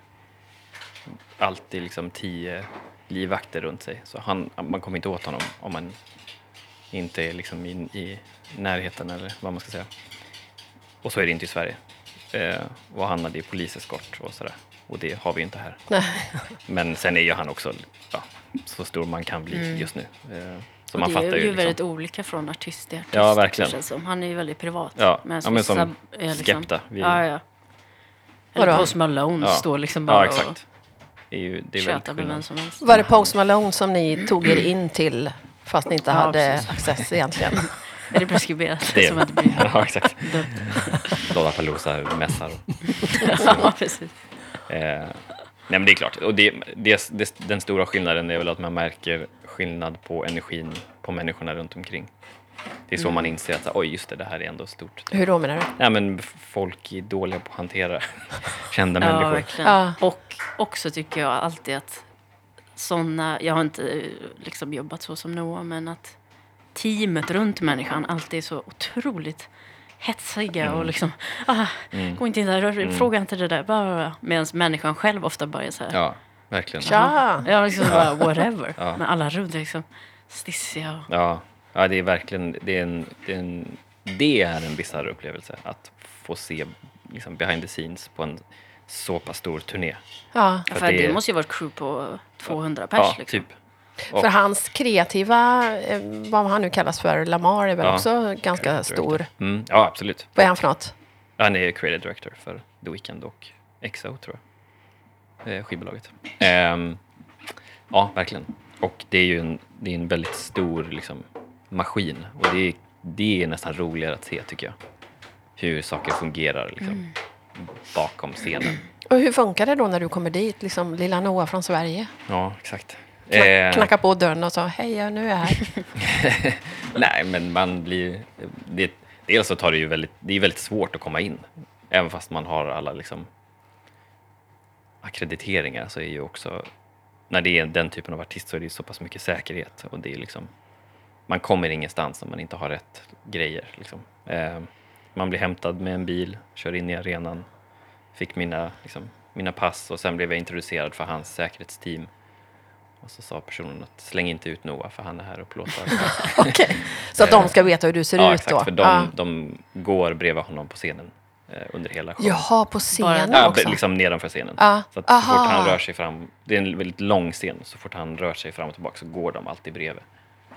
alltid liksom tio livvakter runt sig. Så han, man kommer inte åt honom om man inte är liksom i, i närheten eller vad man ska säga. Och så är det inte i Sverige. Eh, och han hade ju poliseskort och sådär. Och det har vi ju inte här. Nej. Men sen är ju han också ja, så stor man kan bli just nu. Eh, så man Mm. det fattar är ju. ju liksom- väldigt olika från artist till artist. Ja, verkligen. känns som. Han är ju väldigt privat. Ja, Medans ja, men vissa som är liksom- Skepta, vi- Ja, ja. Vadå? Eller Post Malone Ja. står liksom bara ja, exakt. Det är ju det och är väldigt tjötar med vem skillnad. som helst. Var det Post Malone som ni tog er in till fast ni inte Ja, hade precis. access [laughs] egentligen? Är det preskriberat? Det är- som att det blir [laughs] ja, exakt. dumt. Lollapalooza-mässar. ja, precis. Eh, nej, men det är klart. Och det, det, det, den stora skillnaden är väl att man märker skillnad på energin på människorna runt omkring. Det är så Mm. man inser att så här, oj, just det, det här är ändå stort. Hur då menar du? Nej, men f- folk är dåliga på att hantera [laughs] kända Ja, människor. verkligen. Ja. Och också tycker jag alltid att sådana, jag har inte eh, liksom jobbat så som Noah, men att teamet runt människan alltid är så otroligt hetsiga Mm. och liksom, ah, gå inte in där, rör, fråga inte det där, bara, bara. Medan människan själv ofta bara är så här, Ja, verkligen. Tja. "Ah, ja, liksom bara whatever. Ja. Men alla runt är liksom stissiga och Ja, ja det är verkligen det är en, det är en, det är en bisarr upplevelse att få se liksom, behind the scenes på en så pass stor turné. Ja. Ja, För för det, det- måste ju vara ett crew på 200 pers. ja, liksom. typ. För hans kreativa, eh, vad han nu kallas för, Lamar, är väl Ja. också ganska Creative stor. director. Mm, ja, absolut. Vad är han för något? Han är creative director för The Weeknd och XO, tror jag. Eh, skivbolaget. Ehm, ja, verkligen. Och det är ju en, det är en väldigt stor liksom, maskin. Och det är, det är nästan roligare att se, tycker jag. Hur saker fungerar liksom, Mm. bakom scenen. Och hur funkar det då när du kommer dit, liksom lilla Noah från Sverige? Ja, exakt. Kna Eh, Knacka på dörren och sa hej, ja, nu är jag här. [laughs] Nej, men man blir... Det, dels så tar det ju väldigt, det är väldigt svårt att komma in. Även fast man har alla liksom akkrediteringar så är ju också... När det är den typen av artist så är det ju så pass mycket säkerhet. Och det är liksom, man kommer ingenstans om man inte har rätt grejer. Liksom. Eh, man blir hämtad med en bil, kör in i arenan, fick mina, liksom, mina pass och sen blev jag introducerad för hans säkerhetsteam. Och så sa personen att släng inte ut Noah för han är här och plåtar. Okej. Så att de ska veta hur du ser Eh. Ja, ut exakt. då? För de, Ja. de går bredvid honom på scenen eh, under hela showen. Jaha, på scenen Ja, också? liksom nedanför scenen. Ja. Så, att så Aha. fort han rör sig fram, det är en väldigt lång scen, så fort han rör sig fram och tillbaka så går de alltid bredvid.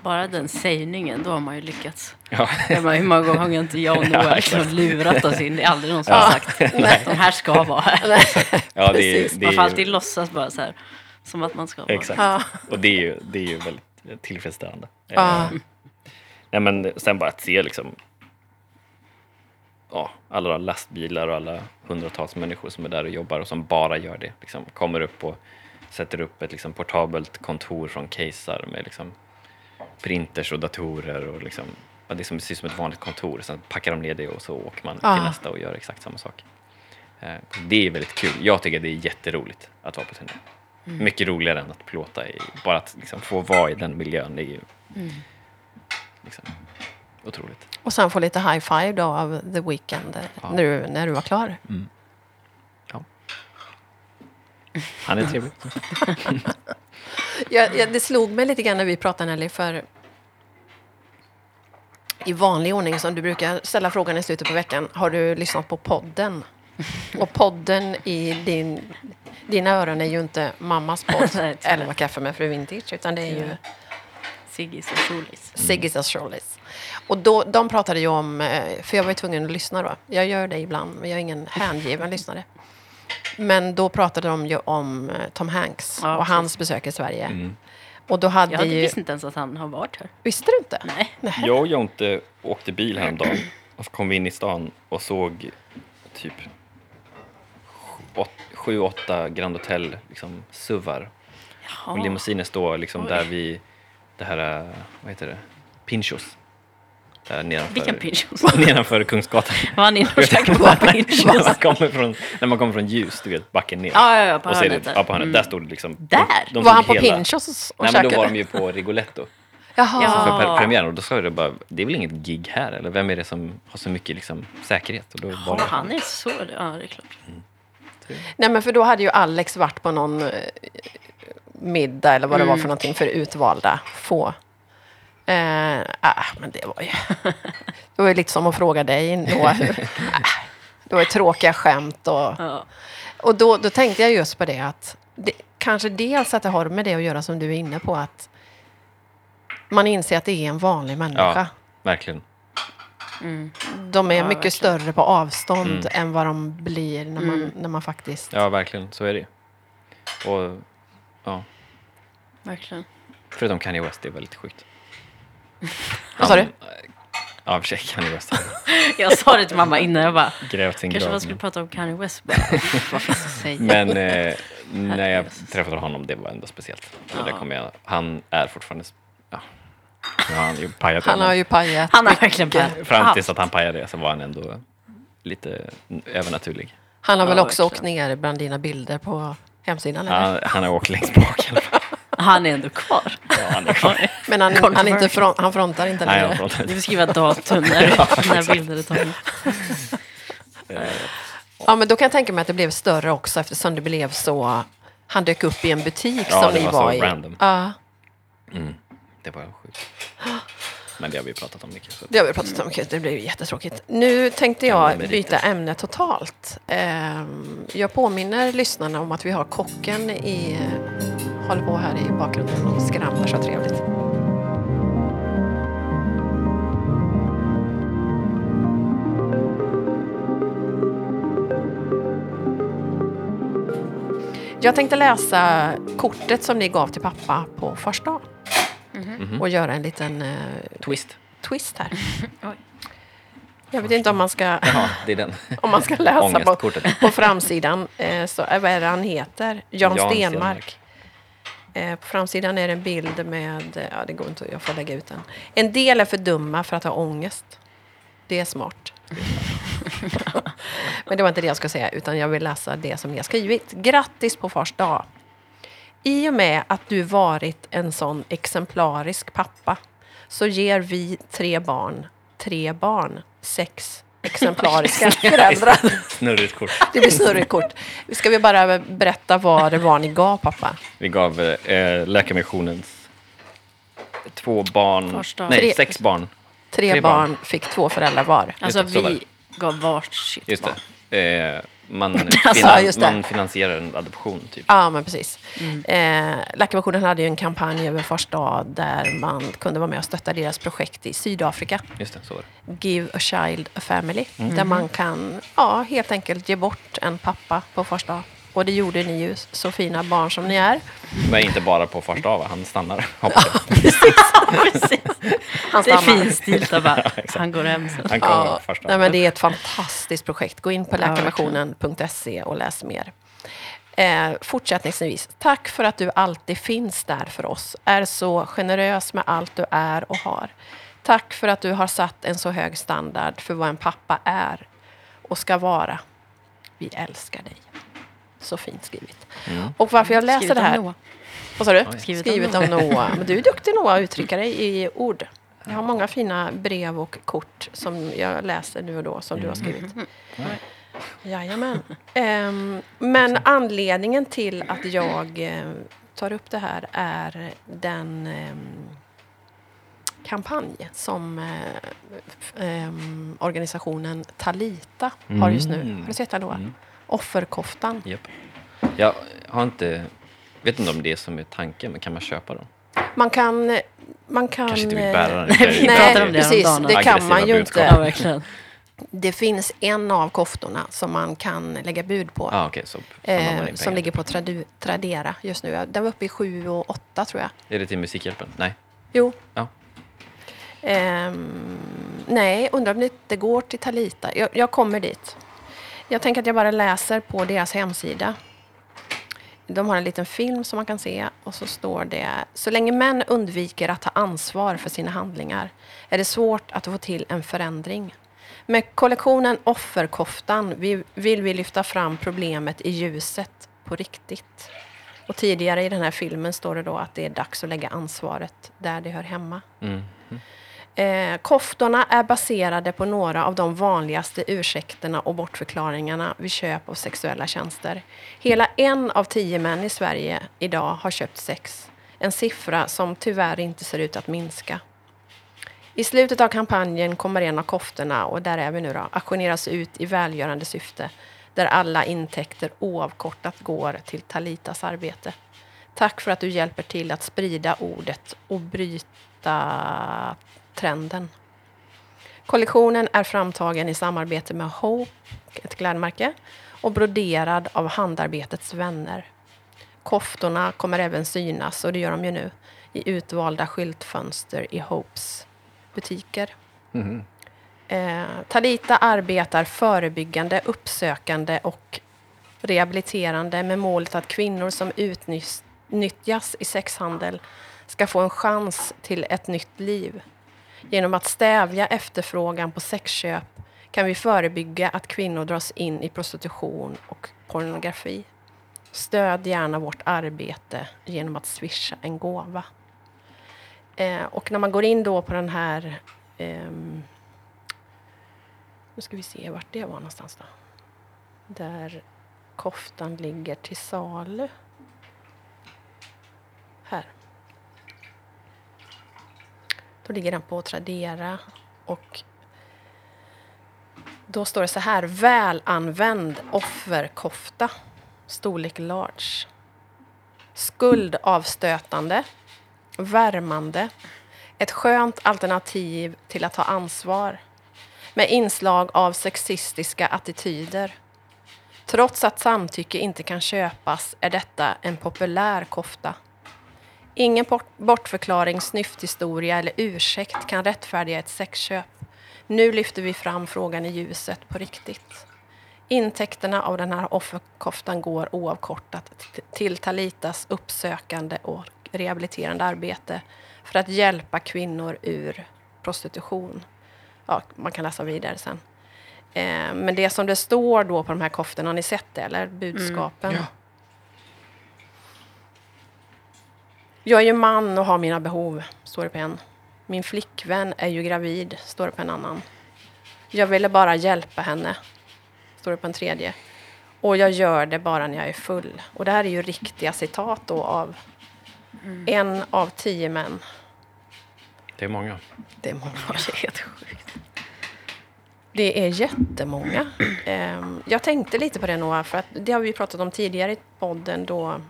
Bara den sägningen, då har man ju lyckats. Ja, Jag menar, Hur många gånger har inte jag och Noah liksom lurat oss in? Det är aldrig någon som har sagt att de här ska vara här. liksom. ja det, Precis. är- det Man får är alltid ju, låtsas bara så här, som att man ska vara Exakt. Ja. Och det är ju, det är ju väldigt tillfredsställande. Ja. Eh, nej, men sen bara att se liksom, ja, alla lastbilar och alla hundratals människor som är där och jobbar och som bara gör det. Liksom, kommer upp och sätter upp ett liksom, portabelt kontor från Kejsar med liksom, printers och datorer. Och, liksom, ja, det är som, ser ut som ett vanligt kontor. Sen packar de ner det och så åker man Ja. till nästa och gör exakt samma sak. Eh, Det är väldigt kul. Jag tycker det är jätteroligt att vara på turné. Mycket roligare än att plåta. I, bara att liksom få vara i den miljön, det är ju liksom, otroligt. [laughs] Och sen få lite high five då av The Weeknd eh, Ja. nu när du var klar. Han [laughs] är trevlig. Jag, jag, det slog mig lite grann när vi pratade Nelly, för i vanlig ordning som du brukar ställa frågan i slutet på veckan, har du lyssnat på [laughs] podden? Och podden i din, dina öron är ju inte mammas podd, [laughs] Nej, tyvärr. Mm. Elva kaffe med fru Vintage, utan det är ju Siggis och Solis. Siggy's and Charlies. Och då, de pratade ju om, eh, för jag var ju tvungen att lyssna då. Jag gör det ibland, men jag är ingen hängiven lyssnare. Men då pratade de ju om eh, Tom Hanks Ja, och precis. hans besök i Sverige. Och då hade Jag hade ju... visste inte ens att han har varit här. Visste du inte? Nej. Jag och Jonte åkte bil häromdagen och så kom vi in i stan och såg typ åt- sju, åtta Grand Hotel liksom, suvar Jaha. Och limousiner står liksom Oj. där vi, det här, eh, vad heter det, Pinchos. Där nedanför, Vilken pinchos? [laughs] nedanför Kungsgatan. Var [laughs] han inne och käkade [laughs] på när, pinchos? man kommer från, när man kommer från ljus, du vet, backen ner. Ja, ja, ja, på och så är det, hörnet där. Mm. ja, på hörnet. Där stod det liksom... Där? var stod han på hela- Pinchos och Nej, men käkade? då var de ju på Rigoletto Jaha. Ja. för pre- premiären och då sa jag det bara, det är väl inget gig här eller vem är det som har så mycket liksom, säkerhet? Och då var Ja, det- han är så... Ja, det är klart. Nej, men för då hade ju Alex varit på någon eh, middag eller vad det var Mm. för någonting för utvalda få. Eh, ah, men det var ju... [laughs] Det var ju lite som att fråga dig [laughs] då. Ah, det var ju tråkiga skämt och... Ja. Och då, då tänkte jag just på det att det, kanske dels att det har med det att göra som du är inne på att man inser att det är en vanlig människa. Ja, verkligen. De är mycket Ja, verkligen. större på avstånd än vad de blir när man, när man faktiskt... Mm. Ja, verkligen. Så är det ju. Och ja, Verkligen. förutom Kanye West, det är väldigt sjukt. Vad sa du? Ja, i och för sig, Kanye West har Jag sa det till mamma innan. Jag bara, [laughs] grävt sin kanske man grav. skulle prata om Kanye West. Bara, vad finns att säga? Men eh, när jag träffade honom, det var ändå speciellt. Och det kommer jag, han är fortfarande... sp- Ja, nu har han ju pajat Han det, har men ju pajat. Han har verkligen bara... Fram tills att han pajade det så var han ändå lite övernaturlig. Han har väl Ja, också åkt verkligen. ner bland dina bilder på hemsidan? Eller? Han, han har åkt längst bak i alla fall. Han är ändå kvar. Ja, han är kvar. Men han, Controversial. han, är inte front, han frontar inte Nej, han längre? har pratat. Du får skriva datum när, när bilder är tagna. Ja, men då kan jag tänka mig att det blev större också eftersom det blev så... Han dök upp i en butik Ja, som det ni var var, så i. random. Ja. [gasps] Det var sjukt. Men det har vi pratat om mycket. Så. att- Det har vi pratat om, gud, det blir ju jättetråkigt. Nu tänkte jag byta ämne totalt. Ehm, Jag påminner lyssnarna om att vi har kocken i, håller på här i bakgrunden och skramlar så trevligt. Jag tänkte läsa kortet som ni gav till pappa på första och göra en liten eh, Twist. twist här. Oj. Jag vet inte om man ska, Jaha, det är den. om man ska läsa på, Ångestkortet. på framsidan. Eh, så, eh, vad är det han heter? Jan, Jan Stenmark. Eh, på framsidan är det en bild med, eh, ja det går inte, jag får lägga ut den. En del är för dumma för att ha ångest. Det är [laughs] smart. Men det var inte det jag skulle säga, utan jag vill läsa det som ni har skrivit. Grattis på fars dag! I och med att du varit en sån exemplarisk pappa så ger vi tre barn, tre barn, sex exemplariska [laughs] föräldrar. [laughs] Snurrigt kort. Det blir snurrigt kort. Ska vi bara berätta vad det var ni gav pappa? Vi gav eh, Läkarmissionens två barn, Första. nej Tre. sex barn. Tre, Tre barn. barn. fick två föräldrar var. Alltså det, så var vi gav varsitt Just barn. det. Eh, [laughs] man, ja, Alltså, just det. man finansierar en adoption typ. Ja, men precis. Eh, Läkarmissionen hade ju en kampanj över första dag där man kunde vara med och stötta deras projekt i Sydafrika. Just det, så var det. Give a child a family. Där man kan ja, helt enkelt ge bort en pappa på första dag. Och det gjorde ni ju, så fina barn som ni är. Men inte bara på första av, han stannar. [laughs] hoppas jag. Precis. Han Det är stannar. fin stil där bara, han går hem sen. Han kommer Ja, på första. nej, men det är ett fantastiskt projekt. Gå in på läkarmissionen.se och läs mer. Eh, fortsättningsvis, tack för att du alltid finns där för oss. Är så generös med allt du är och har. Tack för att du har satt en så hög standard för vad en pappa är och ska vara. Vi älskar dig. Så fint skrivet. Och varför jag läser Skrivet det om här... Noah. Vad sa du? Skrivet Skrivet, om om Noah. Men du är duktig Noah att uttrycka dig i ord. Jag har många fina brev och kort som jag läser nu och då som du har skrivit. Mm. Jajamän. Um, men anledningen till att jag eh, tar upp det här är den ehm, kampanj som eh, f- ehm, organisationen Talita har just nu. Mm. Har du sett den Noah? Offerkoftan. Japp. Jag har inte, vet inte om det är som är tanken, men kan man köpa dem? Man kan... Man kan Kanske inte vill eh, bära den. vi Nej, pratade om det precis. häromdagen. Det kan Aggressiva man ju budskap. Ja, inte. verkligen. Det finns en av koftorna som man kan lägga bud på. Ah, okay, så samlar man in Eh, pengar. som ligger på tradu, Tradera just nu. Den var uppe i 7 och 8 tror jag. Är det till Musikhjälpen? Nej. Jo. Ja. Ehm, nej, undrar om det inte går till Talita. Jag, jag kommer dit. Jag tänker att jag bara läser på deras hemsida. De har en liten film som man kan se och så står det Så länge män undviker att ta ansvar för sina handlingar är det svårt att få till en förändring. Med kollektionen Offerkoftan vi- vill vi lyfta fram problemet i ljuset på riktigt. Och tidigare i den här filmen står det då att det är dags att lägga ansvaret där det hör hemma. Mm. Eh, koftorna är baserade på några av de vanligaste ursäkterna och bortförklaringarna vid köp av sexuella tjänster. Hela en av tio män i Sverige idag har köpt sex. En siffra som tyvärr inte ser ut att minska. I slutet av kampanjen kommer en av koftorna, och där är vi nu då, auktioneras ut i välgörande syfte, där alla intäkter oavkortat går till Talitas arbete. Tack för att du hjälper till att sprida ordet och bryta trenden. Kollektionen är framtagen i samarbete med Hope, ett klädmärke, och broderad av Handarbetets vänner. Koftorna kommer även synas, och det gör de ju nu, i utvalda skyltfönster i Hopes butiker. Eh, Talita arbetar förebyggande, uppsökande och rehabiliterande med målet att kvinnor som utnyttjas i sexhandel ska få en chans till ett nytt liv. Genom att stävja efterfrågan på sexköp kan vi förebygga att kvinnor dras in i prostitution och pornografi. Stöd gärna vårt arbete genom att swisha en gåva. Eh, och när man går in då på den här... ehm, nu ska vi se vart det var någonstans då. Där koftan ligger till salu. Här. Då ligger den på Tradera och då står det så här, välanvänd offerkofta, storlek large. Skuldavstötande, värmande, ett skönt alternativ till att ta ansvar med inslag av sexistiska attityder. Trots att samtycke inte kan köpas är detta en populär kofta. Ingen port- bortförklaring, snyfthistoria eller ursäkt kan rättfärdiga ett sexköp. Nu lyfter vi fram frågan i ljuset på riktigt. Intäkterna av den här offerkoftan går oavkortat t- till Talitas uppsökande och rehabiliterande arbete för att hjälpa kvinnor ur prostitution. Ja, man kan läsa vidare sen. Eh, men det som det står då på de här koftorna, har ni sett det eller? Budskapen? Jag är ju man och har mina behov, står det på en. Min flickvän är ju gravid, står det på en annan. Jag ville bara hjälpa henne, står det på en tredje. Och jag gör det bara när jag är full. Och det här är ju riktiga citat då av en av tio män. Det är många. Det är många. Det är helt sjukt. Det är jättemånga. Ehm, Jag tänkte lite på det Noah, för att det har vi ju pratat om tidigare i podden då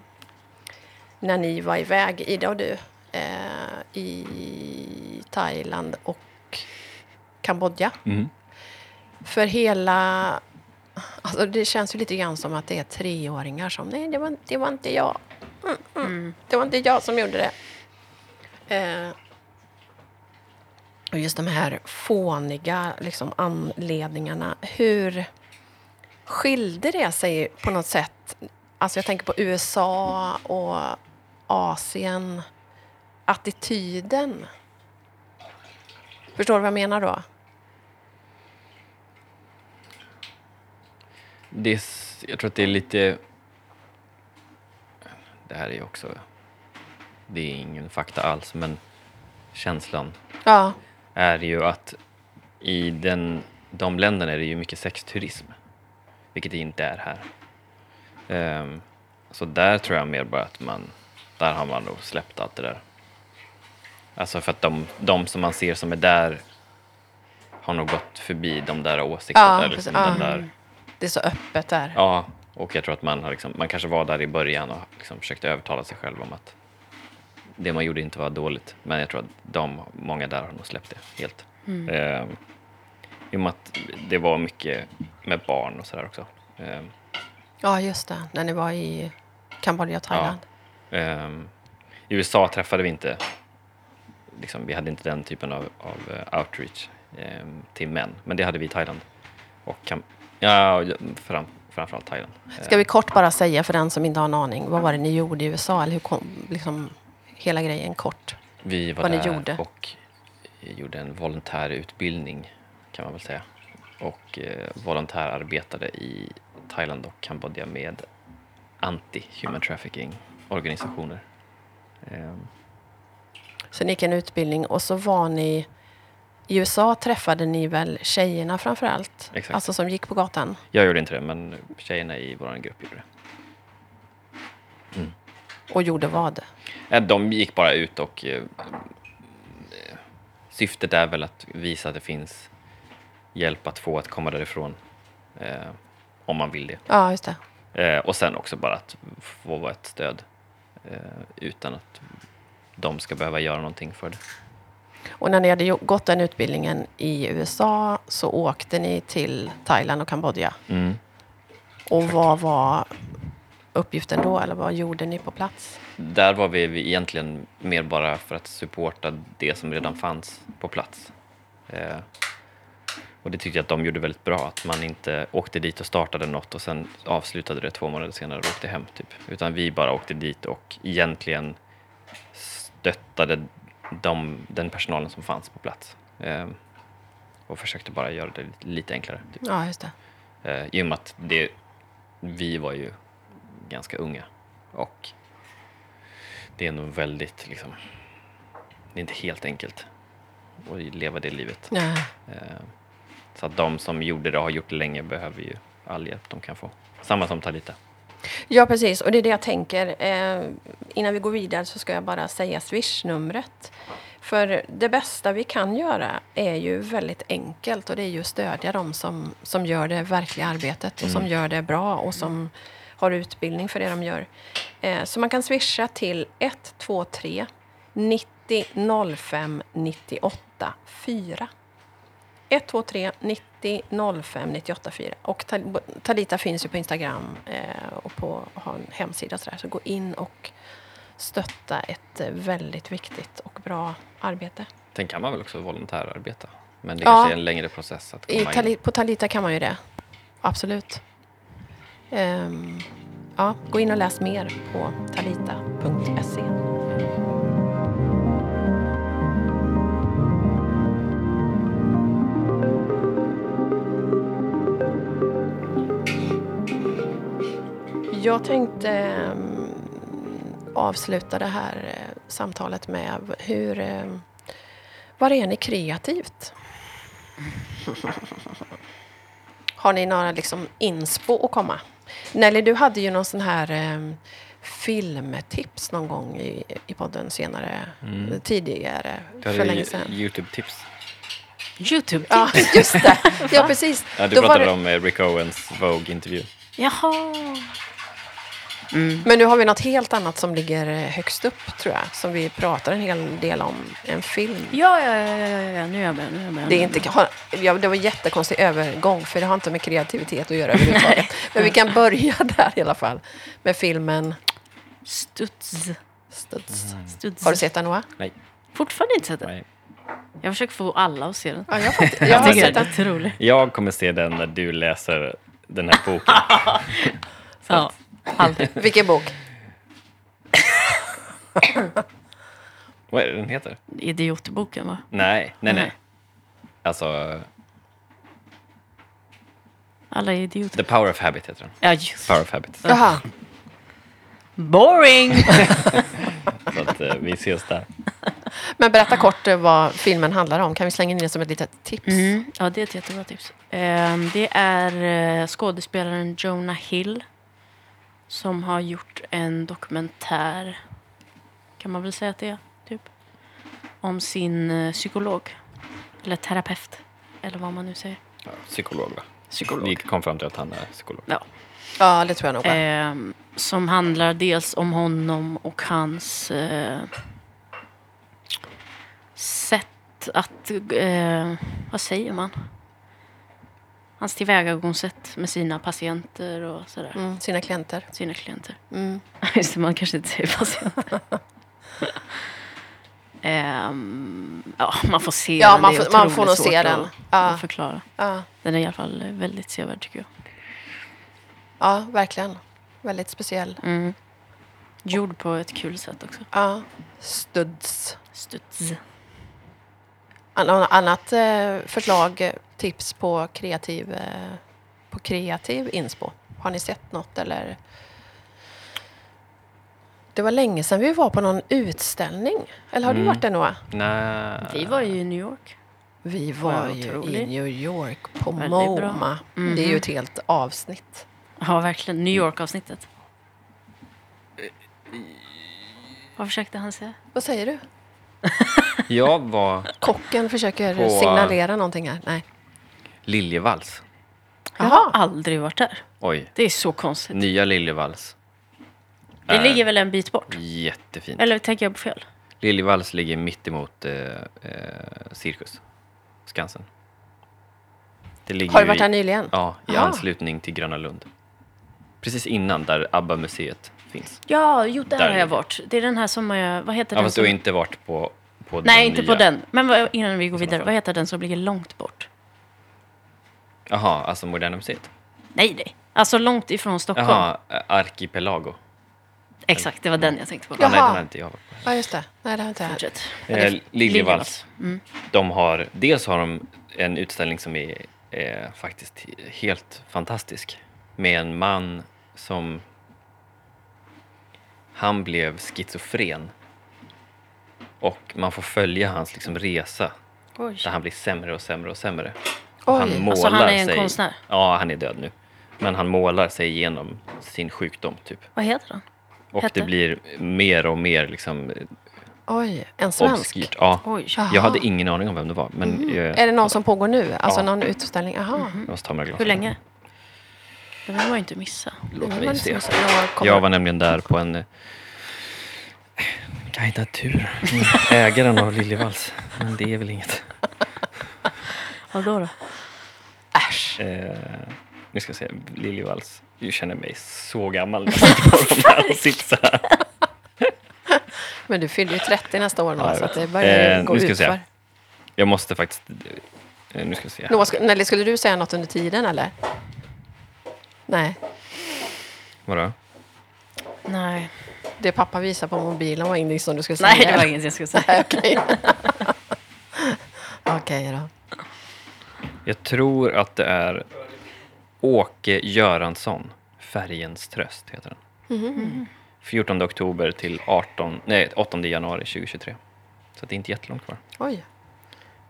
när ni var iväg, Ida och du, eh, i Thailand och Kambodja. Mm. För hela... Alltså det känns ju lite grann som att det är treåringar som nej, det var, det var inte jag. Mm, mm. Det var inte jag som gjorde det. Eh, och just de här fåniga liksom, anledningarna. Hur skilde det sig på något sätt? Alltså jag tänker på USA och Asien. Attityden. Förstår du vad jag menar då? Det är, s- jag tror att det är lite... Det här är ju också... Det är ingen fakta alls, men känslan Ja. är ju att i den, de länderna är det ju mycket sexturism, vilket det inte är här. Ehm, så där tror jag mer bara att man, där har man nog släppt allt det där. Alltså för att de, de som man ser som är där har nog gått förbi de där åsikterna. Ja, eller precis. liksom den Ja. där, Det är så öppet där. ja, och jag tror att man, har liksom, man kanske var där i början och liksom försökte övertala sig själv om att det man gjorde inte var dåligt. Men jag tror att de, många där har nog släppt det helt. Eh, I och med att det var mycket med barn och sådär också. Eh, Ja, just det. När ni var i Kambodja och Thailand. ehm, I USA träffade vi inte, liksom, vi hade inte den typen av, av eh, outreach ehm, till män. Men det hade vi i Thailand. Och kam- ja, och fram, framförallt Thailand. Eh, Ska vi kort bara säga för den som inte har en aning. Vad var det ni gjorde i USA? Eller hur kom liksom, hela grejen kort? Vi var vad ni där gjorde. och eh, gjorde en volontärutbildning kan man väl säga. Och eh, volontärarbetade i Thailand och Kambodja med anti-human trafficking organisationer. Eh, Så ni gick en utbildning och så var ni... I USA träffade ni väl tjejerna framför allt? Exakt. Alltså som gick på gatan? jag gjorde inte det, men tjejerna i vår grupp gjorde det. Och gjorde vad? Eh, De gick bara ut och eh, eh, syftet är väl att visa att det finns hjälp att få att komma därifrån eh, om man vill det. Ja, just det. Eh, och sen också bara att få vara ett stöd eh, utan att de ska behöva göra någonting för det. Och när ni hade jo- gått den utbildningen i USA så åkte ni till Thailand och Kambodja. Och vad var uppgiften då? Eller vad gjorde ni på plats? Där var vi vi egentligen mer bara för att supporta det som redan fanns på plats. Eh, och det tyckte jag att de gjorde väldigt bra, att man inte åkte dit och startade något och sen avslutade det två månader senare och åkte hem. Typ. Utan vi bara åkte dit och egentligen stöttade de, den personalen som fanns på plats. Eh, och försökte bara göra det lite- lite enklare. Typ. Ja, just det. Eh, I och med att det, vi var ju ganska unga och det är nog väldigt, liksom, det är inte helt enkelt att leva det livet. Ja. Eh, Så att de som gjorde det och har gjort det länge behöver ju all hjälp de kan få. Samma som Talita. Ja, precis. Och det är det jag tänker. Eh, innan vi går vidare så ska jag bara säga Swish-numret. För det bästa vi kan göra är ju väldigt enkelt och det är ju att stödja dem som, som gör det verkliga arbetet och som gör det bra och som har utbildning för det de gör. Eh, så man kan swisha till 123 90 05 98 4. 123 90 05 98 4. Och Tal- Talita finns ju på Instagram eh, och på har en hemsida och sådär. Så gå in och stötta ett eh, väldigt viktigt och bra arbete. Sen kan man väl också volontärarbeta? Men det Ja. kanske är en längre process att I komma in. Tali- på Talita kan man ju det. Absolut. Ehm, ja, gå in och läs mer på talita.se. Jag tänkte ehm, avsluta det här eh, samtalet med hur... ehm, var är ni kreativt? Har ni några liksom inspo att komma? Nelly, du hade ju någon sån här eh, filmtips någon gång i, i podden senare, Mm. tidigare, Du för hade länge ju sedan. Youtube-tips. Youtube? Ja, [laughs] just det. Ja, precis. Ja, du Då var pratade det- om eh, Rick Owens Vogue-intervju. Jaha. Men nu har vi något helt annat som ligger eh, högst upp, tror jag, som vi pratar en hel del om. En film. Ja, ja, ja, ja, ja, ja. nu är jag med. Nu är jag med. Det, är inte, har- ja, det var en jättekonstig övergång, för det har inte med kreativitet att göra överhuvudtaget. Men vi kan börja [laughs] där i alla fall, med filmen Studs. Studs. Studs. Har du sett den, Noah? Nej, Fortfarande inte sett den? nej. Jag försöker få alla att se den. Ja, jag, [laughs] fatt, jag har tycker sett den den. är otrolig. Jag kommer se den när du läser den här [laughs] boken. Ja, aldrig. Vilken bok? Vad är det den heter? Idiotboken, va? Nej, nej, nej. Nej. Alltså, Alla är idioter. The Power of Habit heter den. Ja, just Power of Habit. Så Jaha. Boring! att, eh, vi ses där. Men berätta kort eh, vad filmen handlar om. Kan vi slänga in det som ett litet tips? Mm, ja, det är ett jättebra tips. Ehm, Det är eh, skådespelaren Jonah Hill som har gjort en dokumentär, kan man väl säga att det är, typ, om sin eh, psykolog. Eller terapeut, eller vad man nu säger. Ja, psykolog, va? Psykolog. Vi kom fram till att han är psykolog. Ja. Ja, det tror jag nog. va? Ehm, som handlar dels om honom och hans eh, sätt att... Eh, vad säger man? Hans tillvägagångssätt med sina patienter och sådär. Mm, sina klienter. Sina klienter. [laughs] Mm. Just det, man kanske inte [laughs] säger patienter. Ehm, ja, man får se Ja, den. man Det är får- man otroligt får nog se svårt att- den. Ja. Att förklara. Ja, Den är i alla fall väldigt sevärd tycker jag. ja, verkligen. Väldigt speciell. Mm. Gjord på ett kul sätt också. Ja. Studs. Studs. An- Något annat eh, förslag, eh, tips på kreativ, eh, på kreativ inspo? Har ni sett något eller? Det var länge sedan vi var på någon utställning. Eller har du varit där Noah? Nej. Vi var ju i New York. Vi Var var jag ju i otrolig? New York på Väldigt bra. MoMA. Mm-hmm. Det är ju ett helt avsnitt. Ja, verkligen. New York-avsnittet. Vad försökte han säga? Vad säger du? Jag var Kocken försöker På- signalera någonting här. Nej. Liljevalchs. Jag har aldrig varit där. Oj, Det är så konstigt. nya Liljevalchs. Det ligger väl en bit bort? Jättefint. Eller tänker jag på fel? Liljevalchs ligger mitt emot eh, eh, Cirkus, Skansen. Det ligger Har du ju varit i- där nyligen? Ja, i Aha. anslutning till Gröna Lund. Precis innan där ABBA-museet finns. Ja, jo, där, Där har ligger. jag varit. Det är den här som... eh, Vad heter Ja, den? fast du Som, har inte varit på, på nej, inte på nya. den. Men vad, innan vi går vidare, fall. vad heter den som ligger långt bort? Jaha, alltså Moderna Museet? Nej, nej. Alltså långt ifrån Stockholm. Jaha, eh, Arkipelago. Exakt, det var den jag tänkte på. Ja, nej, Jaha. den har inte jag varit på. Ja, just det. Nej, det har inte jag. Fortsätt. Eh, Liljevalchs. Mm. De har, dels har de en utställning som är eh, faktiskt he- helt fantastisk. Med en man som... Han blev schizofren. Och man får följa hans liksom, resa. Oj. Där han blir sämre och sämre och sämre. Och han Oj. målar Alltså, han är en sig, konstnär? Ja, han är död nu. Men han målar sig igenom sin sjukdom, typ. Vad heter den? Och Hette? det blir mer och mer liksom eh, Oj, en svensk? Obskyrt, ja. Oj. Jaha. Mm. Jag hade ingen aning om vem det var, men eh, Är det någon som pågår nu? Alltså Ja. någon utställning? Aha. jag måste ta med glasögonen. Hur länge? Det vill man ju inte missa. Låt Det var mig liksom se. så några kommer- Jag var nämligen där på en eh, guidad tur. Mm. Ägaren av Liljevalchs. Men det är väl inget. Ja, då då? Äsch. Eh, nu ska jag se. Liljevalchs. Du känner mig så gammal när jag sitter på de här och sitter så här. Men du fyller ju 30 nästa år, Ja, ja, jag så att det vet. börjar ju Eh, gå nu ska vi se. utför. Jag måste faktiskt... Eh, nu ska jag se. Noah, sk- Nelly, skulle du säga något under tiden, eller? Nej, Vadå? Nej. det pappa visar på mobilen var ingenting som du skulle säga. Nej, det var inget jag skulle säga. Nej, Okej. [laughs] Okej då. Jag tror att det är Åke Göransson. Färgens tröst heter den. 14 oktober till 18, nej, 8 januari 2023. Så det är inte jättelångt kvar. Oj.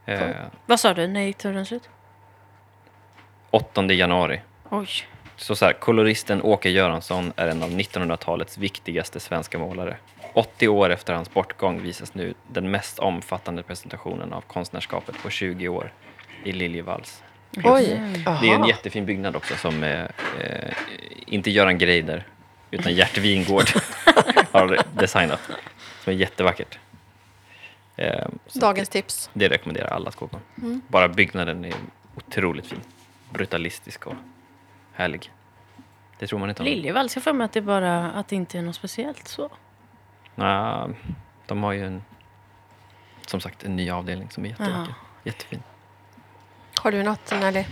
Eh, [laughs] Vad sa du? När gick turen slut? 8 januari. Oj. Så, så här, koloristen Åke Göransson är en av 1900-talets viktigaste svenska målare. 80 år efter hans bortgång visas nu den mest omfattande presentationen av konstnärskapet på 20 år i Liljevalchs. Oj. Jaha. Det är en jättefin byggnad också som eh, eh, inte Göran Greider utan Gert Wingård har designat. Som är jättevackert. Eh, så Dagens tips. Det rekommenderar alla att gå på. Bara byggnaden är otroligt fin. Brutalistisk och härlig. Det tror man inte om. Liljevalchs, jag får mig att det bara att det inte är något speciellt så. Nja, de har ju en, som sagt en ny avdelning som är jättevacker. Jättefin. Har du något, Nelly,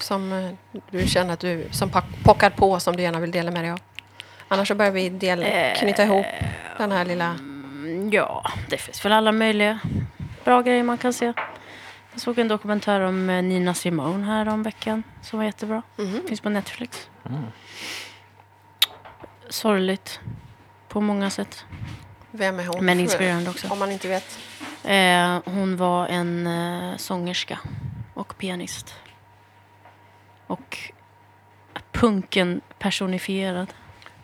som eh, du känner att du som pack- pockar på som du gärna vill dela med dig av? Annars så börjar vi del, Eh, knyta ihop den här lilla... Mm, Ja, det finns väl alla möjliga bra grejer man kan se. Jag såg en dokumentär om eh, Nina Simone här om veckan som var jättebra. Finns på Netflix. Sorgligt på många sätt. Vem är hon? Men inspirerande också. Om man inte vet. Eh, hon var en eh, sångerska och pianist. Och punken personifierad.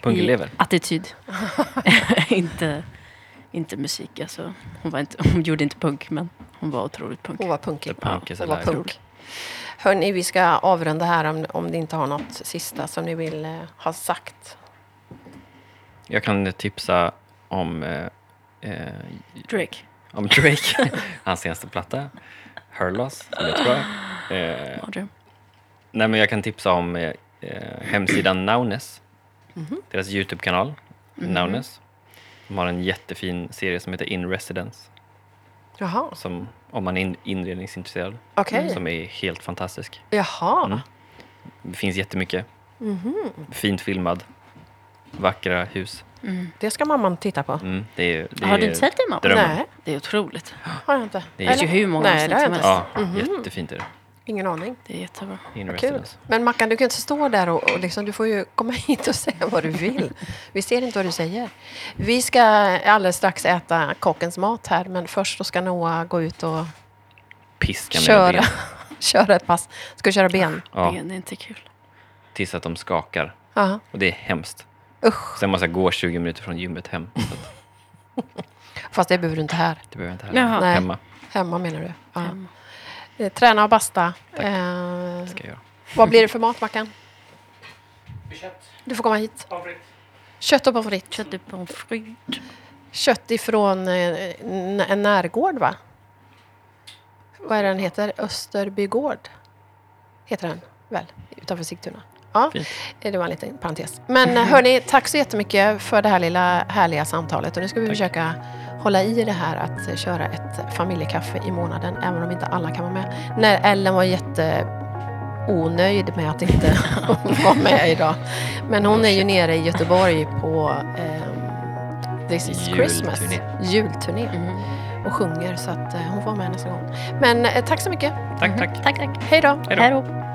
Pungelever. I attityd. [laughs] inte, inte musik. Alltså. Hon, var inte, [laughs] hon gjorde inte punk, men hon var otroligt punk. Hon var punkig. The punk is hon var alive. punk. Hörni, vi ska avrunda här om, om ni inte har något sista som ni vill eh, ha sagt. Jag kan tipsa om, eh, eh, Drake. om Drake, [laughs] hans senaste platta. Her Loss, som jag tror. Eh, Mardröm. Nej, men jag kan tipsa om eh, eh, hemsidan Nownes. Mhm. Deras YouTube-kanal, Nownes. De har en jättefin serie som heter In Residence, Jaha, som, om man är in- inredningsintresserad, okej. som är helt fantastisk. Jaha. Mm. Det finns jättemycket. Mhm. Fint filmad, vackra hus. Det ska mamman titta på. Mm, det är, det Har du är inte sett det, mamma? drömmen. Nej, Det är otroligt. har jag inte. Det Det finns ju Eller? hur många Nej, avsnitt det har jag som inte. helst. Ja, jättefint är det. Ingen aning. Det är jättebra. In Kul. Residence. Men Mackan, du kan inte stå där och, och liksom, du får ju komma [laughs] hit och säga vad du vill. Vi ser inte vad du säger. Vi ska alldeles strax äta kockens mat här, men först då ska Noah gå ut och Piska mina köra, ben. köra ett pass. Ska du köra ben? [laughs] Ja, Det är inte kul. tills att de skakar. Ja. Och det är hemskt. Usch, Sen måste jag gå 20 minuter från gymmet hem. Så att fast det behöver du inte här. det behöver jag inte Jaha. heller. Nej. Hemma Hemma menar du? Ja. Hemma. Eh, Träna och basta. Eh, ska jag göra. vad blir det för mat, Mackan? Du får komma hit. Kött och pommes frites. Köttet pommes frites. Kött ifrån eh, n- en närgård, va? Vad är den heter? Österbygård? Heter den väl? Utanför Sigtuna. Ja, Fint. Eh, det var en liten parentes. Men eh, hörni, tack så jättemycket för det här lilla härliga samtalet. Och nu ska vi försöka hålla i det här att eh, köra ett familjekaffe i månaden, även om inte alla kan vara med. När Ellen var jätte onöjd med att [laughs] inte [laughs] vara med idag. Men hon är ju nere i Göteborg på ehm, This is Christmas. Julturné. Julturné. Mm. Och sjunger, så att eh, hon får vara med nästa gång. Men eh, tack så mycket. Tack, tack. Tack, tack. Hej då! Hej då. Hej då.